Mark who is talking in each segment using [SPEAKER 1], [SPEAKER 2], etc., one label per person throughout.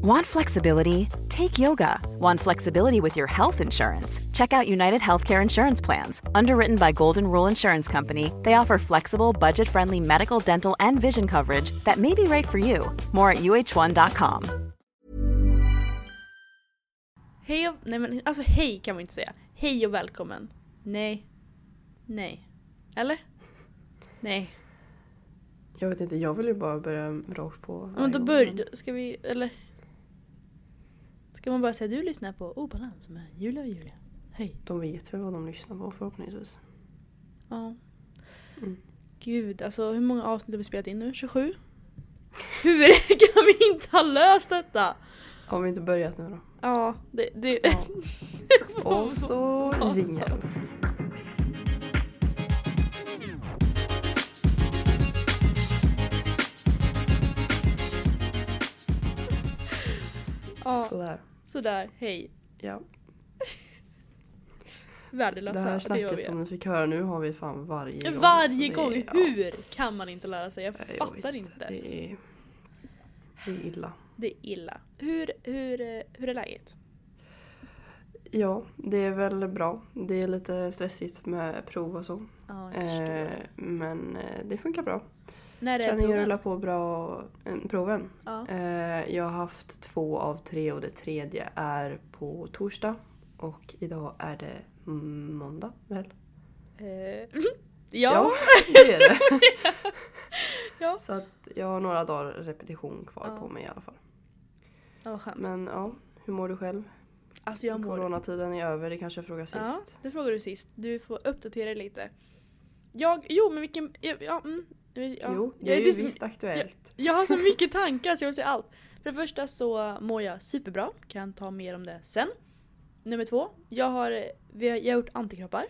[SPEAKER 1] Want flexibility? Take yoga. Want flexibility with your health insurance? Check out United Healthcare Insurance Plans. Underwritten by Golden Rule Insurance Company, they offer flexible, budget friendly medical, dental, and vision coverage that may be right for you. More at uh1.com.
[SPEAKER 2] Hej och, nej men alltså hej kan man inte säga. Hej och välkommen. Nej. Nej. Eller? Nej.
[SPEAKER 3] Jag vet inte, jag vill ju bara börja rakt på.
[SPEAKER 2] Ja,
[SPEAKER 3] varje
[SPEAKER 2] Men då
[SPEAKER 3] gång.
[SPEAKER 2] börjar, ska vi, eller? Ska man bara säga du lyssnar på Obalans med Julia och Julia? Hej.
[SPEAKER 3] De vet väl vad de lyssnar på förhoppningsvis.
[SPEAKER 2] Ja.
[SPEAKER 3] Mm.
[SPEAKER 2] Gud, alltså hur många avsnitt har vi spelat in nu? 27? Hur kan vi inte ha löst detta?
[SPEAKER 3] Har vi inte börjat nu då?
[SPEAKER 2] Ja, det... det
[SPEAKER 3] Ja. Och så ringer den.
[SPEAKER 2] ja,
[SPEAKER 3] Sådär.
[SPEAKER 2] sådär, hej.
[SPEAKER 3] Ja. Det
[SPEAKER 2] Värdelösa,
[SPEAKER 3] här
[SPEAKER 2] gör vi.
[SPEAKER 3] snacket som ni fick höra nu har vi fan varje gång.
[SPEAKER 2] Varje
[SPEAKER 3] Alltså,
[SPEAKER 2] gång!
[SPEAKER 3] det är- ja,
[SPEAKER 2] Hur kan man inte lära sig? Jag
[SPEAKER 3] nej, jag
[SPEAKER 2] fattar
[SPEAKER 3] vet
[SPEAKER 2] inte. Det är...
[SPEAKER 3] Det är, det är illa.
[SPEAKER 2] illa. Hur, hur, eh, hur är läget?
[SPEAKER 3] Ja, det är väl bra. Det är lite stressigt med prov och så.
[SPEAKER 2] Ja, jag förstår.
[SPEAKER 3] Eh, men eh, det funkar bra.
[SPEAKER 2] När är
[SPEAKER 3] Träningen rullar
[SPEAKER 2] proven?
[SPEAKER 3] på bra. eh, Proven.
[SPEAKER 2] Ja.
[SPEAKER 3] Eh, Jag har haft två av tre och det tredje är på torsdag. Och idag är det mm, måndag väl?
[SPEAKER 2] Eh,
[SPEAKER 3] Ja,
[SPEAKER 2] ja.
[SPEAKER 3] det är det.
[SPEAKER 2] Ja.
[SPEAKER 3] Så att jag har några dagar repetition kvar
[SPEAKER 2] Ja.
[SPEAKER 3] på mig i alla fall.
[SPEAKER 2] ja, vad skönt.
[SPEAKER 3] Men ja, hur mår du själv?
[SPEAKER 2] Alltså jag mår
[SPEAKER 3] Coronatiden är över, det kanske jag frågar
[SPEAKER 2] Ja,
[SPEAKER 3] sist.
[SPEAKER 2] det frågade du sist. Du får uppdatera dig lite. Jag, jo men vilken, ja, ja, mm, ja,
[SPEAKER 3] Jo,
[SPEAKER 2] jag,
[SPEAKER 3] det är ju
[SPEAKER 2] så-
[SPEAKER 3] visst aktuellt.
[SPEAKER 2] jag har så mycket tankar så jag vill säga allt. För det första så mår jag superbra, kan ta mer om det sen. Nummer två, jag har, vi har, jag har gjort antikroppar.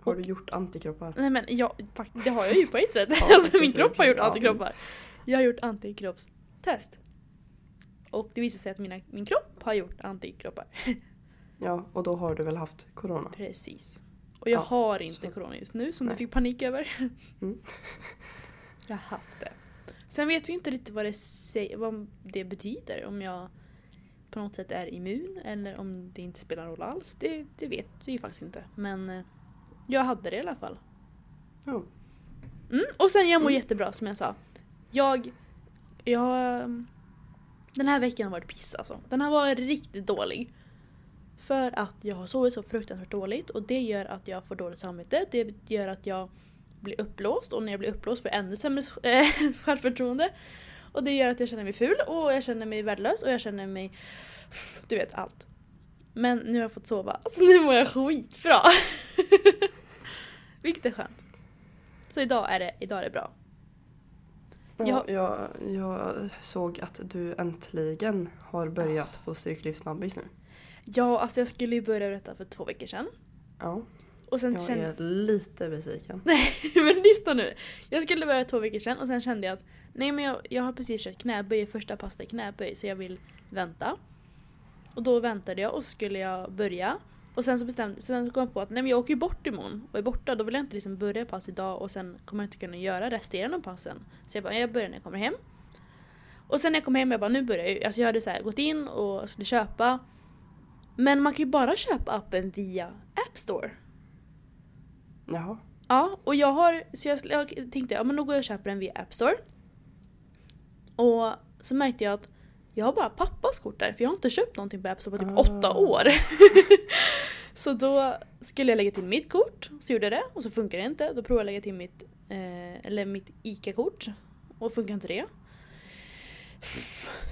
[SPEAKER 3] Har du gjort antikroppar?
[SPEAKER 2] Nej men jag, fakt- det har jag ju på ett sätt.
[SPEAKER 3] Ja,
[SPEAKER 2] alltså min
[SPEAKER 3] precis.
[SPEAKER 2] kropp har gjort
[SPEAKER 3] Ja.
[SPEAKER 2] antikroppar. Jag har gjort antikroppstest. Och det visar sig att mina, min kropp har gjort antikroppar.
[SPEAKER 3] Ja, och då har du väl haft corona?
[SPEAKER 2] Precis. Och jag
[SPEAKER 3] Ja,
[SPEAKER 2] har inte
[SPEAKER 3] så-
[SPEAKER 2] corona just nu som
[SPEAKER 3] Nej.
[SPEAKER 2] du fick panik över.
[SPEAKER 3] Mm.
[SPEAKER 2] jag har haft det. Sen vet vi inte riktigt vad det, sä- vad det betyder. Om jag på något sätt är immun eller om det inte spelar någon roll alls. Det, det vet vi ju faktiskt inte. Men eh, jag hade det i alla fall.
[SPEAKER 3] Ja.
[SPEAKER 2] Mm. Och sen jag mår jättebra som jag sa. Jag, jag... ehm, Den här veckan har varit piss alltså. Den har varit riktigt dålig. För att jag har sovit så fruktansvärt dåligt och det gör att jag får dåligt samvete. Det gör att jag blir uppblåst och när jag blir uppblåst får jag ännu sämre eh, självförtroende. Och det gör att jag känner mig ful och jag känner mig värdelös och jag känner mig... Du vet, allt. Men nu har jag fått sova, så nu mår jag skitbra. Vilket är skönt. Så idag är det, idag är det bra.
[SPEAKER 3] Ja,
[SPEAKER 2] Jag-
[SPEAKER 3] jag, jag såg att du äntligen har börjat på Stryklivssnabbis nu.
[SPEAKER 2] Ja, alltså jag skulle ju börja berätta för två veckor sedan.
[SPEAKER 3] Ja,
[SPEAKER 2] Och sen
[SPEAKER 3] jag
[SPEAKER 2] kände
[SPEAKER 3] är lite besviken.
[SPEAKER 2] Nej men lyssna nu. Jag skulle börja två veckor sedan och sen kände jag att nej men jag, jag har precis kört knäböj, första passet är knäböj så jag vill vänta. Och då väntade jag och så skulle jag börja. Och sen så bestämde sen kom jag på att nej men jag åker ju bort imorgon och är borta då vill jag inte liksom börja pass idag och sen kommer jag inte kunna göra resterande av passen. Så jag bara jag börjar när jag kommer hem. Och sen när jag kom hem jag bara nu börjar jag ju. Alltså jag hade så här, gått in och skulle köpa. Men man kan ju bara köpa appen via App Store.
[SPEAKER 3] Jaha.
[SPEAKER 2] Ja, och jag har, så jag, jag tänkte ja men då går jag och köper den via App Store. Och så märkte jag att jag har bara pappas kort där för jag har inte köpt någonting på App Store på typ
[SPEAKER 3] Ah.
[SPEAKER 2] åtta år. så då skulle jag lägga till mitt kort, så gjorde jag det och så funkar det inte. Då provade jag att lägga till mitt, eh, eller mitt ICA-kort och funkar inte det.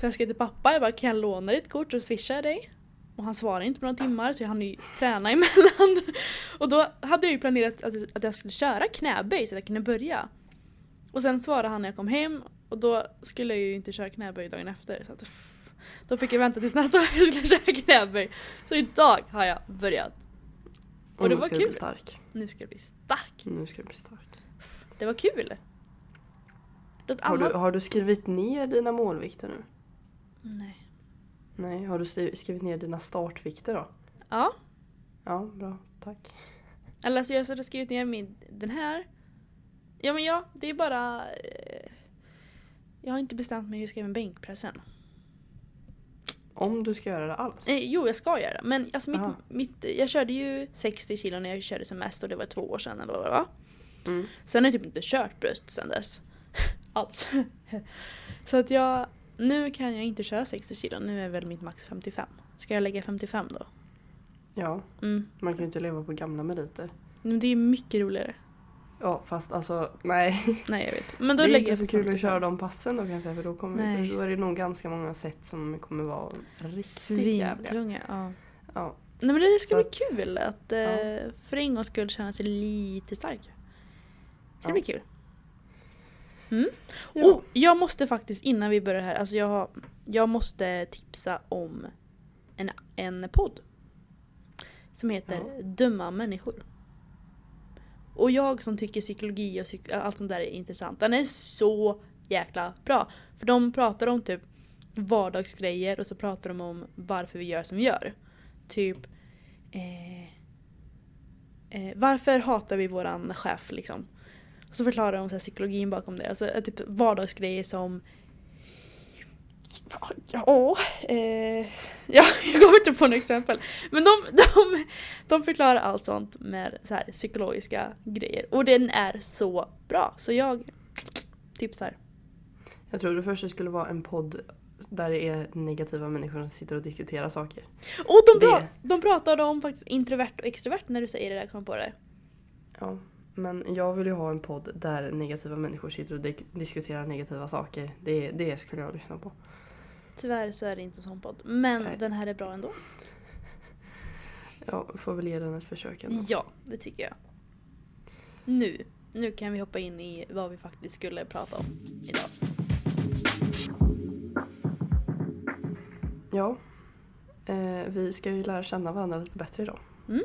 [SPEAKER 2] Så jag skrev till pappa, jag bara kan jag låna ditt kort så swishar jag dig? Och han svarade inte på några timmar så jag hann ju träna emellan. Och då hade jag ju planerat att, att jag skulle köra knäböj så att jag kunde börja. Och sen svarade han när jag kom hem och då skulle jag ju inte köra knäböj dagen efter. Så att, pff, då fick jag vänta tills nästa dag jag skulle köra knäböj. Så idag har jag börjat. Och det
[SPEAKER 3] nu
[SPEAKER 2] var
[SPEAKER 3] ska Du
[SPEAKER 2] kul.
[SPEAKER 3] bli stark.
[SPEAKER 2] Nu ska jag bli stark.
[SPEAKER 3] Nu ska du bli stark.
[SPEAKER 2] Det var kul. Något
[SPEAKER 3] Har
[SPEAKER 2] annat?
[SPEAKER 3] du, har du skrivit ner dina målvikter nu?
[SPEAKER 2] Nej.
[SPEAKER 3] Nej, har du sti- skrivit ner dina startvikter då?
[SPEAKER 2] Ja.
[SPEAKER 3] Ja, bra. Tack.
[SPEAKER 2] Eller alltså jag har skrivit ner min, den här. Ja men ja, det är bara... Eh, jag har inte bestämt mig hur jag ska göra med bänkpressen.
[SPEAKER 3] Om du ska göra det alls.
[SPEAKER 2] Eh, jo, jag ska göra det. Men alltså mitt,
[SPEAKER 3] Aha.
[SPEAKER 2] mitt, jag körde ju 60 kilo när jag körde som mest och det var två år sedan eller vad det var.
[SPEAKER 3] Mm.
[SPEAKER 2] Sen har jag typ inte kört bröst sen dess. Alls. Så att jag, nu kan jag inte köra 60 kilo. Nu är väl mitt max 55. Ska jag lägga 55 då?
[SPEAKER 3] Ja,
[SPEAKER 2] Mm.
[SPEAKER 3] man kan ju inte leva på gamla meriter.
[SPEAKER 2] Men det är mycket roligare.
[SPEAKER 3] Ja, fast alltså nej.
[SPEAKER 2] Nej jag vet. Men då
[SPEAKER 3] det är
[SPEAKER 2] lägger
[SPEAKER 3] inte
[SPEAKER 2] jag
[SPEAKER 3] så
[SPEAKER 2] på
[SPEAKER 3] kul att
[SPEAKER 2] 55.
[SPEAKER 3] köra de passen då kan jag säga för då, kommer
[SPEAKER 2] Nej.
[SPEAKER 3] då är det nog ganska många sätt som kommer vara riktigt jävliga.
[SPEAKER 2] Svintunga. Ja.
[SPEAKER 3] Ja.
[SPEAKER 2] Nej men det ska
[SPEAKER 3] Så
[SPEAKER 2] bli
[SPEAKER 3] att-
[SPEAKER 2] kul att eh,
[SPEAKER 3] Ja.
[SPEAKER 2] för en gångs skull känna sig lite stark. Så det
[SPEAKER 3] Ja.
[SPEAKER 2] blir kul. Mm.
[SPEAKER 3] Ja.
[SPEAKER 2] Oh, jag måste faktiskt innan vi börjar här, alltså jag, har- jag måste tipsa om en, en podd. Som heter Döma människor. Och jag som tycker psykologi och psyk- allt sånt där är intressant, den är så jäkla bra. För de pratar om typ vardagsgrejer och så pratar de om varför vi gör som vi gör. Typ eh, eh, Varför hatar vi våran chef liksom? Och så förklarar de så här psykologin bakom det. Alltså eh, typ vardagsgrejer som Ja, eh, ja, jag kommer inte på några exempel. Men de, de, de förklarar allt sånt med så här psykologiska grejer. Och den är så bra. Så jag tipsar.
[SPEAKER 3] Jag trodde först det skulle vara en podd där det är negativa människor som sitter och diskuterar saker.
[SPEAKER 2] Och de,
[SPEAKER 3] Det-
[SPEAKER 2] pra, de pratade om faktiskt introvert och extrovert när du säger det där, kom jag på det.
[SPEAKER 3] Ja. Men jag vill ju ha en podd där negativa människor sitter och di- diskuterar negativa saker. Det, det skulle jag lyssna på.
[SPEAKER 2] Tyvärr så är det inte en sån podd. Men
[SPEAKER 3] Nej.
[SPEAKER 2] den här är bra ändå.
[SPEAKER 3] Jag får väl ge den ett försök ändå.
[SPEAKER 2] Ja, det tycker jag. Nu, nu kan vi hoppa in i vad vi faktiskt skulle prata om idag.
[SPEAKER 3] Ja. Eh, vi ska ju lära känna varandra lite bättre idag.
[SPEAKER 2] Mm.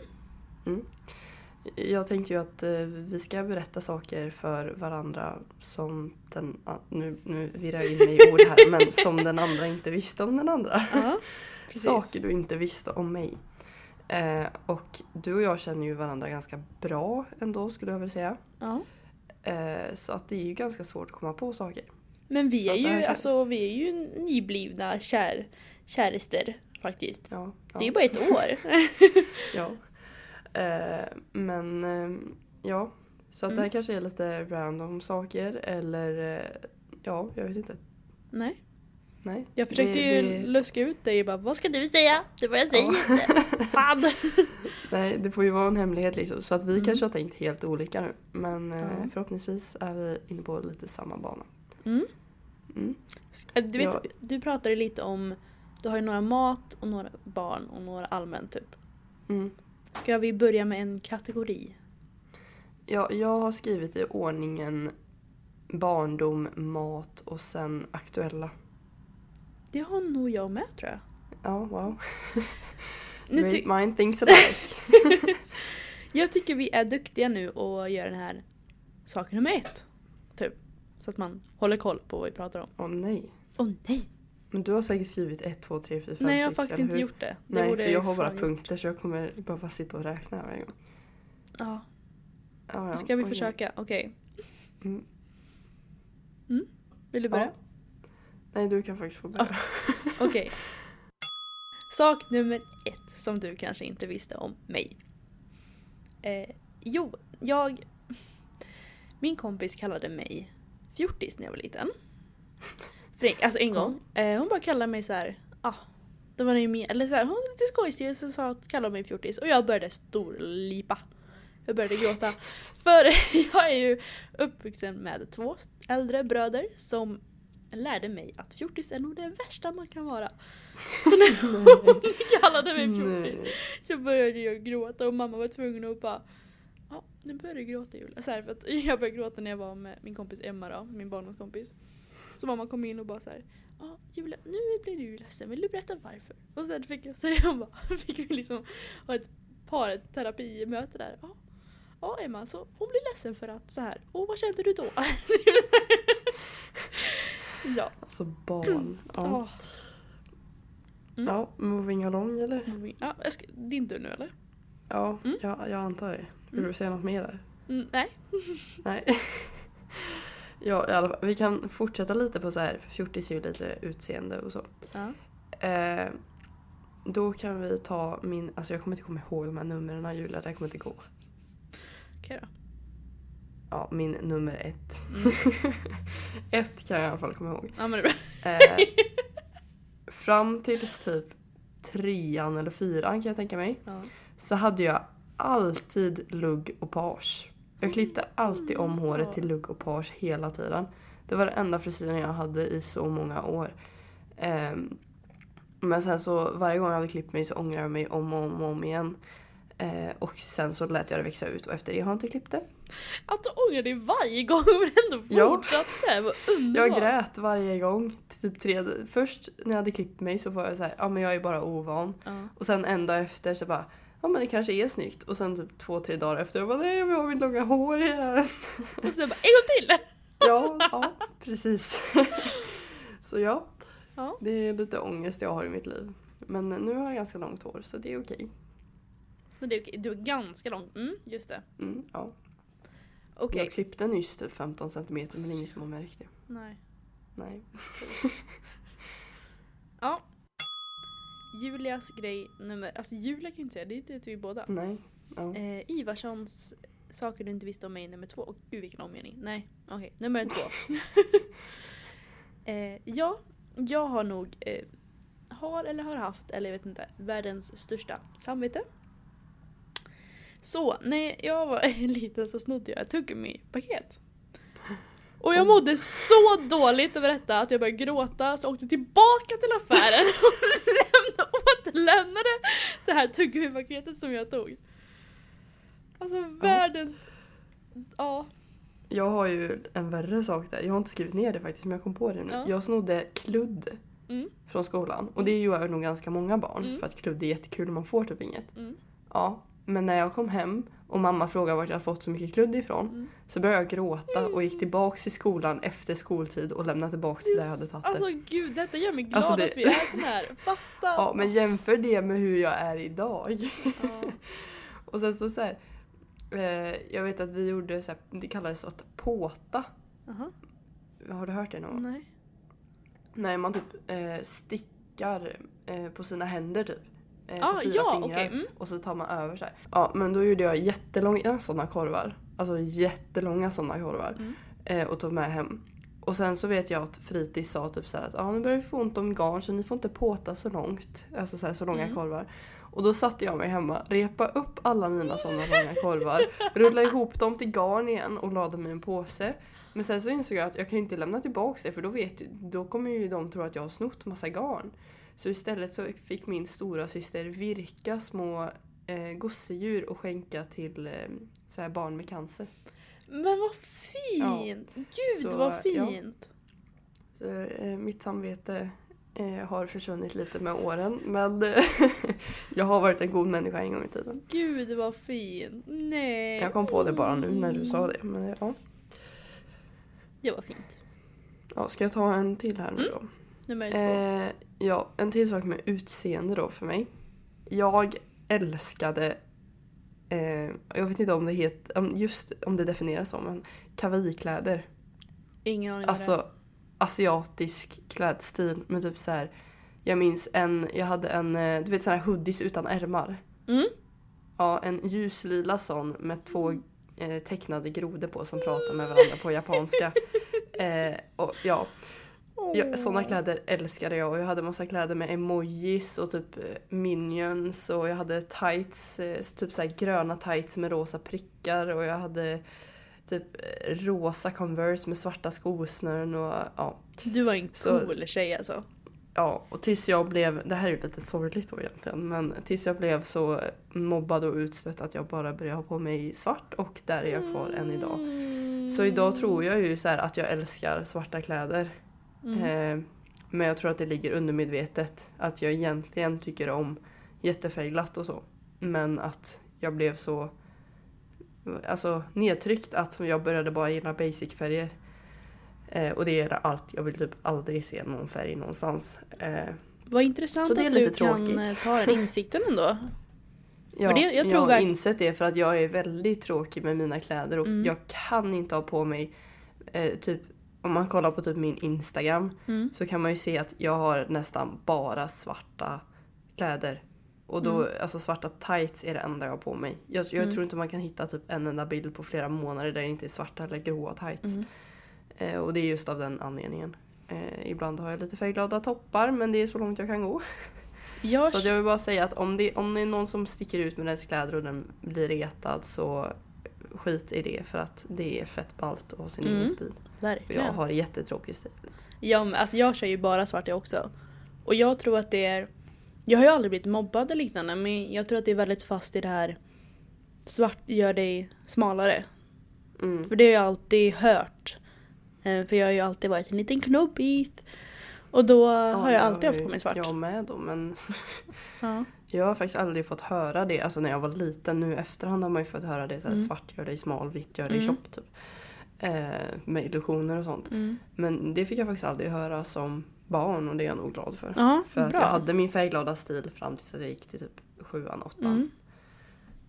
[SPEAKER 3] Mm. Jag tänkte ju att eh, vi ska berätta saker för varandra som den... ah, nu, nu virrar jag in mig i ord här men som den andra inte visste om den andra.
[SPEAKER 2] Ja, precis.
[SPEAKER 3] Saker du inte visste om mig. Eh, och du och jag känner ju varandra ganska bra ändå skulle jag vilja säga.
[SPEAKER 2] Ja.
[SPEAKER 3] Eh, så att det är ju ganska svårt att komma på saker.
[SPEAKER 2] Men vi
[SPEAKER 3] Så
[SPEAKER 2] är,
[SPEAKER 3] att det här
[SPEAKER 2] ju,
[SPEAKER 3] kan-
[SPEAKER 2] alltså, vi är ju nyblivna kär, kärister faktiskt.
[SPEAKER 3] Ja, ja.
[SPEAKER 2] Det är ju bara ett år.
[SPEAKER 3] Ja. Eh, men eh, ja, så att det
[SPEAKER 2] Mm.
[SPEAKER 3] här kanske är lite random saker eller eh, ja, jag vet inte.
[SPEAKER 2] Nej.
[SPEAKER 3] Nej.
[SPEAKER 2] Jag försökte
[SPEAKER 3] det,
[SPEAKER 2] ju
[SPEAKER 3] det-
[SPEAKER 2] luska ut dig och bara vad ska du säga? Det var jag säger
[SPEAKER 3] Ja.
[SPEAKER 2] inte. Fan.
[SPEAKER 3] Nej, det får ju vara en hemlighet liksom. Så att vi
[SPEAKER 2] Mm.
[SPEAKER 3] kanske har tänkt helt olika nu. Men eh,
[SPEAKER 2] Ja.
[SPEAKER 3] förhoppningsvis är vi inne på lite samma bana.
[SPEAKER 2] Mm.
[SPEAKER 3] Mm.
[SPEAKER 2] Du, vet,
[SPEAKER 3] Ja.
[SPEAKER 2] du pratade lite om, du har ju några mat och några barn och några allmänt typ.
[SPEAKER 3] Mm.
[SPEAKER 2] Ska vi börja med en kategori?
[SPEAKER 3] Ja, jag har skrivit i ordningen barndom, mat och sen aktuella.
[SPEAKER 2] Det har nog jag med tror jag.
[SPEAKER 3] Ja, wow.
[SPEAKER 2] Nu
[SPEAKER 3] Great
[SPEAKER 2] ty-
[SPEAKER 3] mind thinks alike.
[SPEAKER 2] jag tycker vi är duktiga nu och gör den här sak nummer ett. Typ. Så att man håller koll på vad vi pratar om.
[SPEAKER 3] Åh nej.
[SPEAKER 2] Åh nej!
[SPEAKER 3] Men du har säkert skrivit 1, 2, 3, 4, 5, 6
[SPEAKER 2] Nej jag har faktiskt inte gjort det. det
[SPEAKER 3] Nej,
[SPEAKER 2] borde
[SPEAKER 3] för jag har
[SPEAKER 2] fan
[SPEAKER 3] bara
[SPEAKER 2] gjort.
[SPEAKER 3] punkter så jag kommer behöva sitta och räkna här varje gång.
[SPEAKER 2] Ja,
[SPEAKER 3] Ja, ja,
[SPEAKER 2] nu ska vi
[SPEAKER 3] okej.
[SPEAKER 2] försöka. Okej.
[SPEAKER 3] Mm.
[SPEAKER 2] Mm. Vill du
[SPEAKER 3] Ja.
[SPEAKER 2] börja?
[SPEAKER 3] Nej, du kan faktiskt få börja.
[SPEAKER 2] Okej. Sak nummer ett som du kanske inte visste om mig. Eh, jo, jag... Min kompis kallade mig fjortis när jag var liten. För en, alltså en
[SPEAKER 3] Ja.
[SPEAKER 2] gång. Eh, hon bara kallade mig så här... Ah, det var ju mer, eller så här, hon var lite skojsig så sa att kallade hon mig fjortis och jag började storlipa. Jag började gråta. För jag är ju uppvuxen med två äldre bröder som lärde mig att fjortis är nog det värsta man kan vara. Så när hon kallade mig fjortis
[SPEAKER 3] Nej.
[SPEAKER 2] så började jag gråta och mamma var tvungen att bara Ja, nu börjar du gråta Julia. Så här, för att jag började gråta när jag var med min kompis Emma då, min barndomskompis. Så mamma kom in och bara så här. Ja Julia, nu blir du ju ledsen, vill du berätta varför? Och sen fick jag säga, hon bara, fick vi liksom ha ett par ett terapimöte där. Ja, ja Emma, så hon blir ledsen för att så här. Och vad kände du då? ja.
[SPEAKER 3] Alltså barn. Ja.
[SPEAKER 2] Ja. Mm.
[SPEAKER 3] ja, moving along eller?
[SPEAKER 2] ja jag ska, din tur nu eller?
[SPEAKER 3] Ja,
[SPEAKER 2] Mm.
[SPEAKER 3] ja jag antar det. Vill du
[SPEAKER 2] Mm.
[SPEAKER 3] säga något mer där?
[SPEAKER 2] Mm, nej.
[SPEAKER 3] Nej. Ja, i alla fall. Vi kan fortsätta lite på så här, för fjortis är ju lite utseende och så.
[SPEAKER 2] Ja.
[SPEAKER 3] Eh, då kan vi ta min, alltså jag kommer inte komma ihåg de här numren Julia, det här kommer inte gå.
[SPEAKER 2] Okej då.
[SPEAKER 3] Ja, min nummer ett. ett kan jag i alla fall komma ihåg.
[SPEAKER 2] Ja men det är bra.
[SPEAKER 3] Eh, fram tills typ trean eller fyran kan jag tänka mig.
[SPEAKER 2] Ja.
[SPEAKER 3] så hade jag alltid lugg och page. Jag klippte alltid om håret till lugg och page hela tiden. Det var den enda frisyren jag hade i så många år. Ehm, men sen så varje gång jag hade klippt mig så ångrade jag mig om och om och om igen. Eh, och sen så lät jag det växa ut och efter det har jag inte klippt det.
[SPEAKER 2] Att du ångrar dig varje gång men ändå
[SPEAKER 3] Ja.
[SPEAKER 2] fortsatte. Vad underbart.
[SPEAKER 3] Jag grät varje gång. Typ tre, först när jag hade klippt mig så var jag så här, ja men jag är bara ovan.
[SPEAKER 2] Ja.
[SPEAKER 3] Och sen en dag efter så bara, ja men det kanske är snyggt. Och sen typ två, tre dagar efter, jag bara nej jag vill ha mitt långa hår igen.
[SPEAKER 2] Och sen bara en gång till!
[SPEAKER 3] ja, ja, precis. så ja,
[SPEAKER 2] Ja.
[SPEAKER 3] det är lite ångest jag har i mitt liv. Men nu har jag ganska långt hår så det är okej.
[SPEAKER 2] Men det är okej, Du är ganska lång. Mm, just det.
[SPEAKER 3] Mm, ja.
[SPEAKER 2] Okej.
[SPEAKER 3] Jag klippte nyss typ 15 centimeter men det är ingen som har märkt det.
[SPEAKER 2] Nej.
[SPEAKER 3] Nej.
[SPEAKER 2] Ja. Julias grej nummer... Alltså Julia kan ju inte säga, det är det vi båda.
[SPEAKER 3] Nej. Ja.
[SPEAKER 2] Eh, Ivarssons saker du inte visste om mig nummer två. Och gud vilken omgivning. Nej, okej. Nummer två. eh, ja, jag har nog... Eh, har eller har haft, eller jag vet inte, världens största samvete. Så, när jag var liten så snodde jag ett tuggummi-paket. Och jag mådde så dåligt över detta att jag började gråta så jag åkte tillbaka till affären och lämnade, återlämnade det här tuggummi-paketet som jag tog. Alltså världens... Ja.
[SPEAKER 3] Jag har ju en värre sak där. Jag har inte skrivit ner det faktiskt men jag kom på det nu.
[SPEAKER 2] Ja.
[SPEAKER 3] Jag snodde kludd
[SPEAKER 2] Mm,
[SPEAKER 3] från skolan. Och det gör nog ganska många barn
[SPEAKER 2] Mm.
[SPEAKER 3] för att kludd är jättekul och man får typ inget.
[SPEAKER 2] mm,
[SPEAKER 3] Ja, men när jag kom hem och mamma frågade vart jag hade fått så mycket kludd ifrån
[SPEAKER 2] Mm.
[SPEAKER 3] så började jag gråta och gick tillbaks till skolan efter skoltid och lämnade tillbaks till där jag hade tagit det.
[SPEAKER 2] Alltså gud, detta gör mig glad
[SPEAKER 3] Alltså, det-
[SPEAKER 2] att vi är sån här. Fatta!
[SPEAKER 3] Ja, men jämför det med hur jag är idag.
[SPEAKER 2] Ja.
[SPEAKER 3] Och sen så så här, eh, jag vet att vi gjorde så här, det kallades att påta.
[SPEAKER 2] Aha,
[SPEAKER 3] Har du hört det någon gång?
[SPEAKER 2] nej.
[SPEAKER 3] Nej, man typ eh, stickar eh, på sina händer typ. Eh,
[SPEAKER 2] Ah,
[SPEAKER 3] på fyra
[SPEAKER 2] ja,
[SPEAKER 3] fingrar.
[SPEAKER 2] okej, mm.
[SPEAKER 3] Och så tar man över så här. Ja, men då gjorde jag jättelånga sådana korvar. Alltså jättelånga sådana korvar.
[SPEAKER 2] Mm.
[SPEAKER 3] Eh, och tog med hem. Och sen så vet jag att fritids sa typ så här att ah, nu börjar vi få ont om garn så ni får inte påta så långt. Alltså så, här, så
[SPEAKER 2] Mm.
[SPEAKER 3] långa korvar. Och då satte jag mig hemma, repa upp alla mina sådana långa korvar, rulla ihop dem till garn igen och lade dem i en påse. Men sen så insåg jag att jag kan ju inte lämna tillbaka det för då, vet, då kommer ju de tro att jag har snott massa garn. Så istället så fick min stora syster virka små eh, gosedjur och skänka till eh, så här barn med cancer.
[SPEAKER 2] Men vad fint! Gud
[SPEAKER 3] Så,
[SPEAKER 2] vad
[SPEAKER 3] ja.
[SPEAKER 2] fint!
[SPEAKER 3] Så, eh, mitt samvete eh, har försvunnit lite med åren men jag har varit en god människa en gång i tiden.
[SPEAKER 2] Gud vad fint! Nej. Mm.
[SPEAKER 3] Jag kom på det bara nu när du sa det. Men, ja.
[SPEAKER 2] Det var fint.
[SPEAKER 3] Ja, ska jag ta en till här nu då?
[SPEAKER 2] Nummer två.
[SPEAKER 3] Eh, ja, en till sak med utseende då för mig. Jag älskade, eh, jag vet inte om det het, om- just om det definieras som, men kavikläder.
[SPEAKER 2] Ingen aning vad det
[SPEAKER 3] Alltså asiatisk klädstil med typ så här. Jag minns en, jag hade en, eh, du vet sådana här hoodies utan ärmar.
[SPEAKER 2] är. Mm.
[SPEAKER 3] Ja, en ljuslila sån med två eh, tecknade grodor på som pratar med varandra på japanska. Eh, och, ja, Ja, såna kläder älskade jag och jag hade massa kläder med emojis och typ eh, minions och jag hade tights, eh, typ såhär gröna tights med rosa prickar och jag hade typ eh, rosa Converse med svarta skosnören och ja.
[SPEAKER 2] Du var en
[SPEAKER 3] Så-
[SPEAKER 2] cool tjej alltså.
[SPEAKER 3] Ja, och tills jag blev, det här är ju lite sorgligt då egentligen, men tills jag blev så mobbad och utstött att jag bara började ha på mig svart och där är jag kvar än idag.
[SPEAKER 2] Mm.
[SPEAKER 3] Så idag tror jag ju så här att jag älskar svarta kläder. Eh, men jag tror att det ligger undermedvetet att jag egentligen tycker om jättefärgglatt och så. Men att jag blev så alltså, nedtryckt att jag började bara gilla basicfärger. Eh, och det är allt. Jag vill typ aldrig se någon färg någonstans. Eh,
[SPEAKER 2] Vad intressant
[SPEAKER 3] Så det är
[SPEAKER 2] att du
[SPEAKER 3] lite
[SPEAKER 2] kan
[SPEAKER 3] tråkigt.
[SPEAKER 2] eh, ta den insikten ändå.
[SPEAKER 3] Ja,
[SPEAKER 2] det- jag
[SPEAKER 3] jag,
[SPEAKER 2] tror
[SPEAKER 3] har
[SPEAKER 2] verk-
[SPEAKER 3] insett det för att jag är väldigt tråkig med mina kläder och
[SPEAKER 2] Mm.
[SPEAKER 3] jag kan inte ha på mig eh, typ om man kollar på typ min Instagram
[SPEAKER 2] Mm.
[SPEAKER 3] så kan man ju se att jag har nästan bara svarta kläder. Och då,
[SPEAKER 2] Mm.
[SPEAKER 3] alltså svarta tights är det enda jag har på mig. Jag, jag tror inte man kan hitta typ en enda bild på flera månader där det inte är svarta eller gråa tights.
[SPEAKER 2] Mm.
[SPEAKER 3] Eh, och det är just av den anledningen. Eh, ibland har jag lite färgglada toppar men det är så långt jag kan gå.
[SPEAKER 2] Jag,
[SPEAKER 3] Så att jag vill bara säga att om det, om det är någon som sticker ut med dens kläder och den blir retad så skit i det för att det är fett ballt att ha sin
[SPEAKER 2] Mm.
[SPEAKER 3] egen stil. Och jag
[SPEAKER 2] verkligen.
[SPEAKER 3] har jättetråkig stil.
[SPEAKER 2] Ja, men alltså jag kör ju bara svart jag också. Och jag tror att det är... Jag har ju aldrig blivit mobbad eller liknande men jag tror att det är väldigt fast i det här svart gör dig smalare.
[SPEAKER 3] Mm.
[SPEAKER 2] För det har jag alltid hört. Eh, För jag har ju alltid varit en liten knobbit. Och då har jag alltid haft på mig svart.
[SPEAKER 3] Jag med då men
[SPEAKER 2] Ja.
[SPEAKER 3] jag har faktiskt aldrig fått höra det. Alltså när jag var liten nu i efterhand har man ju fått höra det så här,
[SPEAKER 2] Mm.
[SPEAKER 3] svart gör dig smal, vitt gör dig
[SPEAKER 2] Mm.
[SPEAKER 3] tjock typ. Eh, med illusioner och sånt.
[SPEAKER 2] Mm.
[SPEAKER 3] Men det fick jag faktiskt aldrig höra som barn och det är jag nog glad för.
[SPEAKER 2] Ja,
[SPEAKER 3] För att
[SPEAKER 2] bra.
[SPEAKER 3] jag hade min färgglada stil fram tills att jag gick till typ sjuan, åttan.
[SPEAKER 2] Mm.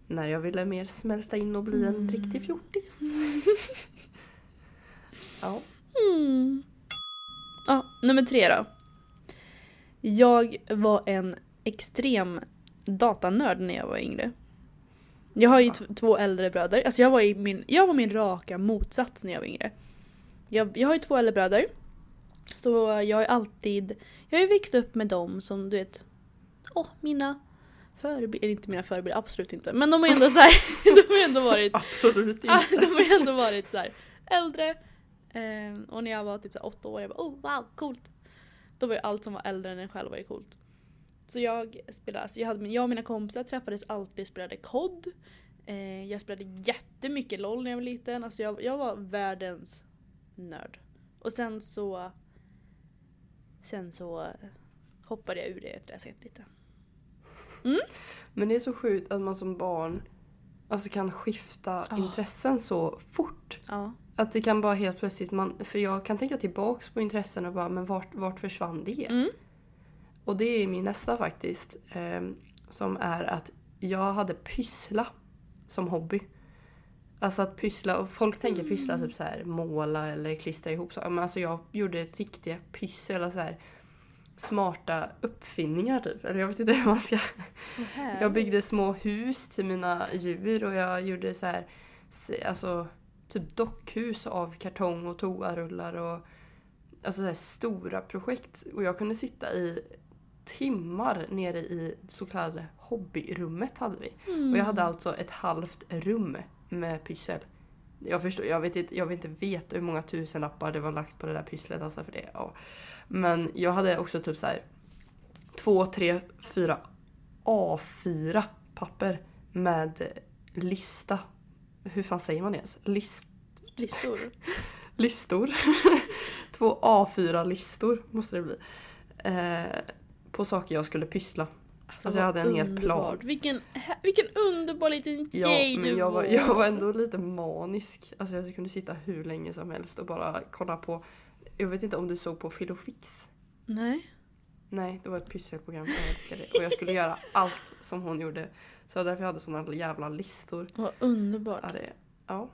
[SPEAKER 3] När jag ville mer smälta in och bli en riktig fjortis. ja.
[SPEAKER 2] Mm. Ja, nummer tre då. Jag var en extrem datanörd när jag var yngre. Jag har ju t- två äldre bröder. Alltså jag var, i min, jag var min raka motsats när jag var yngre. Jag, jag har ju två äldre bröder. Så jag har ju alltid... Jag har ju växt upp med dem som du vet... Åh, mina förebilder. Eller inte mina förebilder, absolut inte. Men de har ju ändå så här, De har ju ändå varit
[SPEAKER 3] Absolut
[SPEAKER 2] Ah, de har ju ändå varit så här äldre. Ehm, och när jag var typ så här åtta år, jag bara oh wow, coolt. Då var ju allt som var äldre än en själv var ju coolt. Så jag spelade, alltså jag, hade, jag och mina kompisar träffades alltid och spelade COD. Eh, jag spelade jättemycket LOL när jag var liten. Alltså jag, jag var världens nörd. Och sen så... Sen så hoppade jag ur det träsket lite.
[SPEAKER 3] Men det är så sjukt att man som barn alltså kan skifta
[SPEAKER 2] Ah.
[SPEAKER 3] intressen så fort.
[SPEAKER 2] Ja.
[SPEAKER 3] Att det kan bara helt plötsligt, man, för jag kan tänka tillbaks på intressen och bara men vart, vart försvann det?
[SPEAKER 2] Mm.
[SPEAKER 3] Och det är min nästa faktiskt. ehm, som är att jag hade pyssla som hobby. Alltså att pyssla, och folk tänker pyssla typ så här måla eller klistra ihop saker. Men alltså jag gjorde riktiga pyssel eller så här smarta uppfinningar typ. Eller jag vet inte hur man ska... Jag byggde små hus till mina djur och jag gjorde så här, se- alltså typ dockhus av kartong och toarullar och alltså så här stora projekt. Och jag kunde sitta i timmar nere i så kallade hobbyrummet hade vi. Och jag hade alltså ett halvt rum med pyssel. Jag förstår, jag vet inte, jag vill inte veta hur många tusenlappar det var lagt på det där pysslet alltså för det. Ja. Men jag hade också typ så här två, tre, fyra A4 papper med lista. Hur fan säger man det ens? List,
[SPEAKER 2] Listor.
[SPEAKER 3] listor. Två A4-listor måste det bli. Eh, på saker jag skulle pyssla. Alltså jag hade en hel
[SPEAKER 2] Underbart.
[SPEAKER 3] plan.
[SPEAKER 2] Vilken, hä- vilken underbar liten
[SPEAKER 3] Ja,
[SPEAKER 2] tjej du
[SPEAKER 3] men jag var, jag var ändå lite manisk. Alltså jag kunde sitta hur länge som helst och bara kolla på. Jag vet inte om du såg på Filofix?
[SPEAKER 2] Nej.
[SPEAKER 3] Nej, det var ett pysselprogram. Jag älskade det. Och jag skulle göra allt som hon gjorde. Så därför hade jag såna jävla listor.
[SPEAKER 2] Vad underbart.
[SPEAKER 3] Ja, det, ja.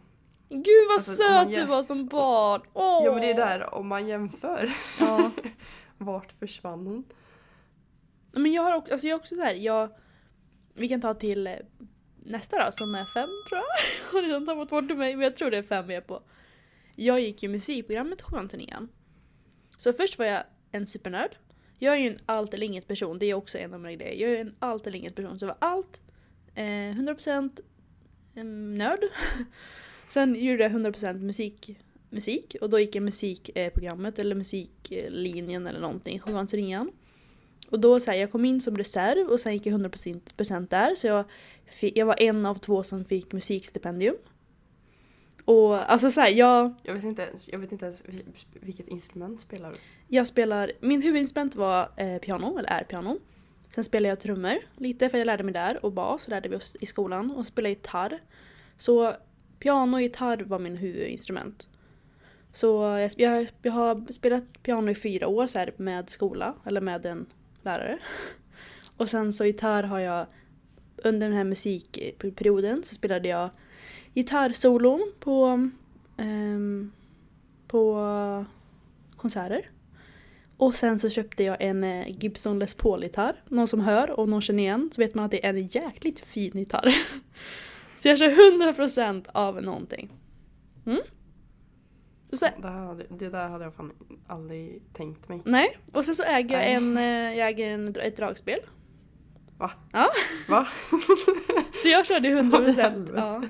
[SPEAKER 2] Gud vad
[SPEAKER 3] Alltså, om man
[SPEAKER 2] söt
[SPEAKER 3] jäm-
[SPEAKER 2] du var som barn! Åh!
[SPEAKER 3] Ja men det är där om man jämför.
[SPEAKER 2] Ja.
[SPEAKER 3] Vart försvann hon?
[SPEAKER 2] Men jag har också, alltså jag är också så här, jag... Vi kan ta till eh, nästa då som är fem tror jag. Jag har redan tappat bort mig men jag tror det är fem vi är på. Jag gick ju musikprogrammet sjuan till nian. Så först var jag en supernörd. Jag är ju en allt eller inget person, det är också en av mina grejer. Jag är en allt eller inget person, så jag var allt eh, 100% en nörd. Sen gjorde jag 100% musik, musik och då gick jag musikprogrammet eller musiklinjen eller någonting, sjuan till nian. Och då så här, jag kom in som reserv och sen gick jag 100% där så jag, fick, jag var en av två som fick musikstipendium. Och alltså så här, jag,
[SPEAKER 3] Jag vet inte ens, jag vet inte ens vi- vilket instrument spelar du?
[SPEAKER 2] jag spelar, min huvudinstrument var eh, piano, eller är piano. Sen spelade jag trummor lite för jag lärde mig där och bas lärde vi oss i skolan och spelade gitarr. Så piano och gitarr var min huvudinstrument. Så jag, sp- jag, jag har spelat piano i fyra år så här, med skola, eller med en lärare. Och sen så gitarr har jag, under den här musikperioden så spelade jag gitarrsolon på ehm, på konserter. Och sen så köpte jag en eh, Gibson Les Paul-gitarr. Någon som hör och någon känner igen så vet man att det är en jäkligt fin gitarr. Så jag kör 100% av någonting. Mm. Och så,
[SPEAKER 3] Det, här, hade- det där hade jag fan aldrig tänkt mig.
[SPEAKER 2] nej, och sen så äger jag,
[SPEAKER 3] Nej.
[SPEAKER 2] en, eh, jag äger en, ett dragspel.
[SPEAKER 3] Va?
[SPEAKER 2] Ja,
[SPEAKER 3] Va?
[SPEAKER 2] så jag körde 100%.
[SPEAKER 3] Vad i
[SPEAKER 2] Ja.
[SPEAKER 3] helvete?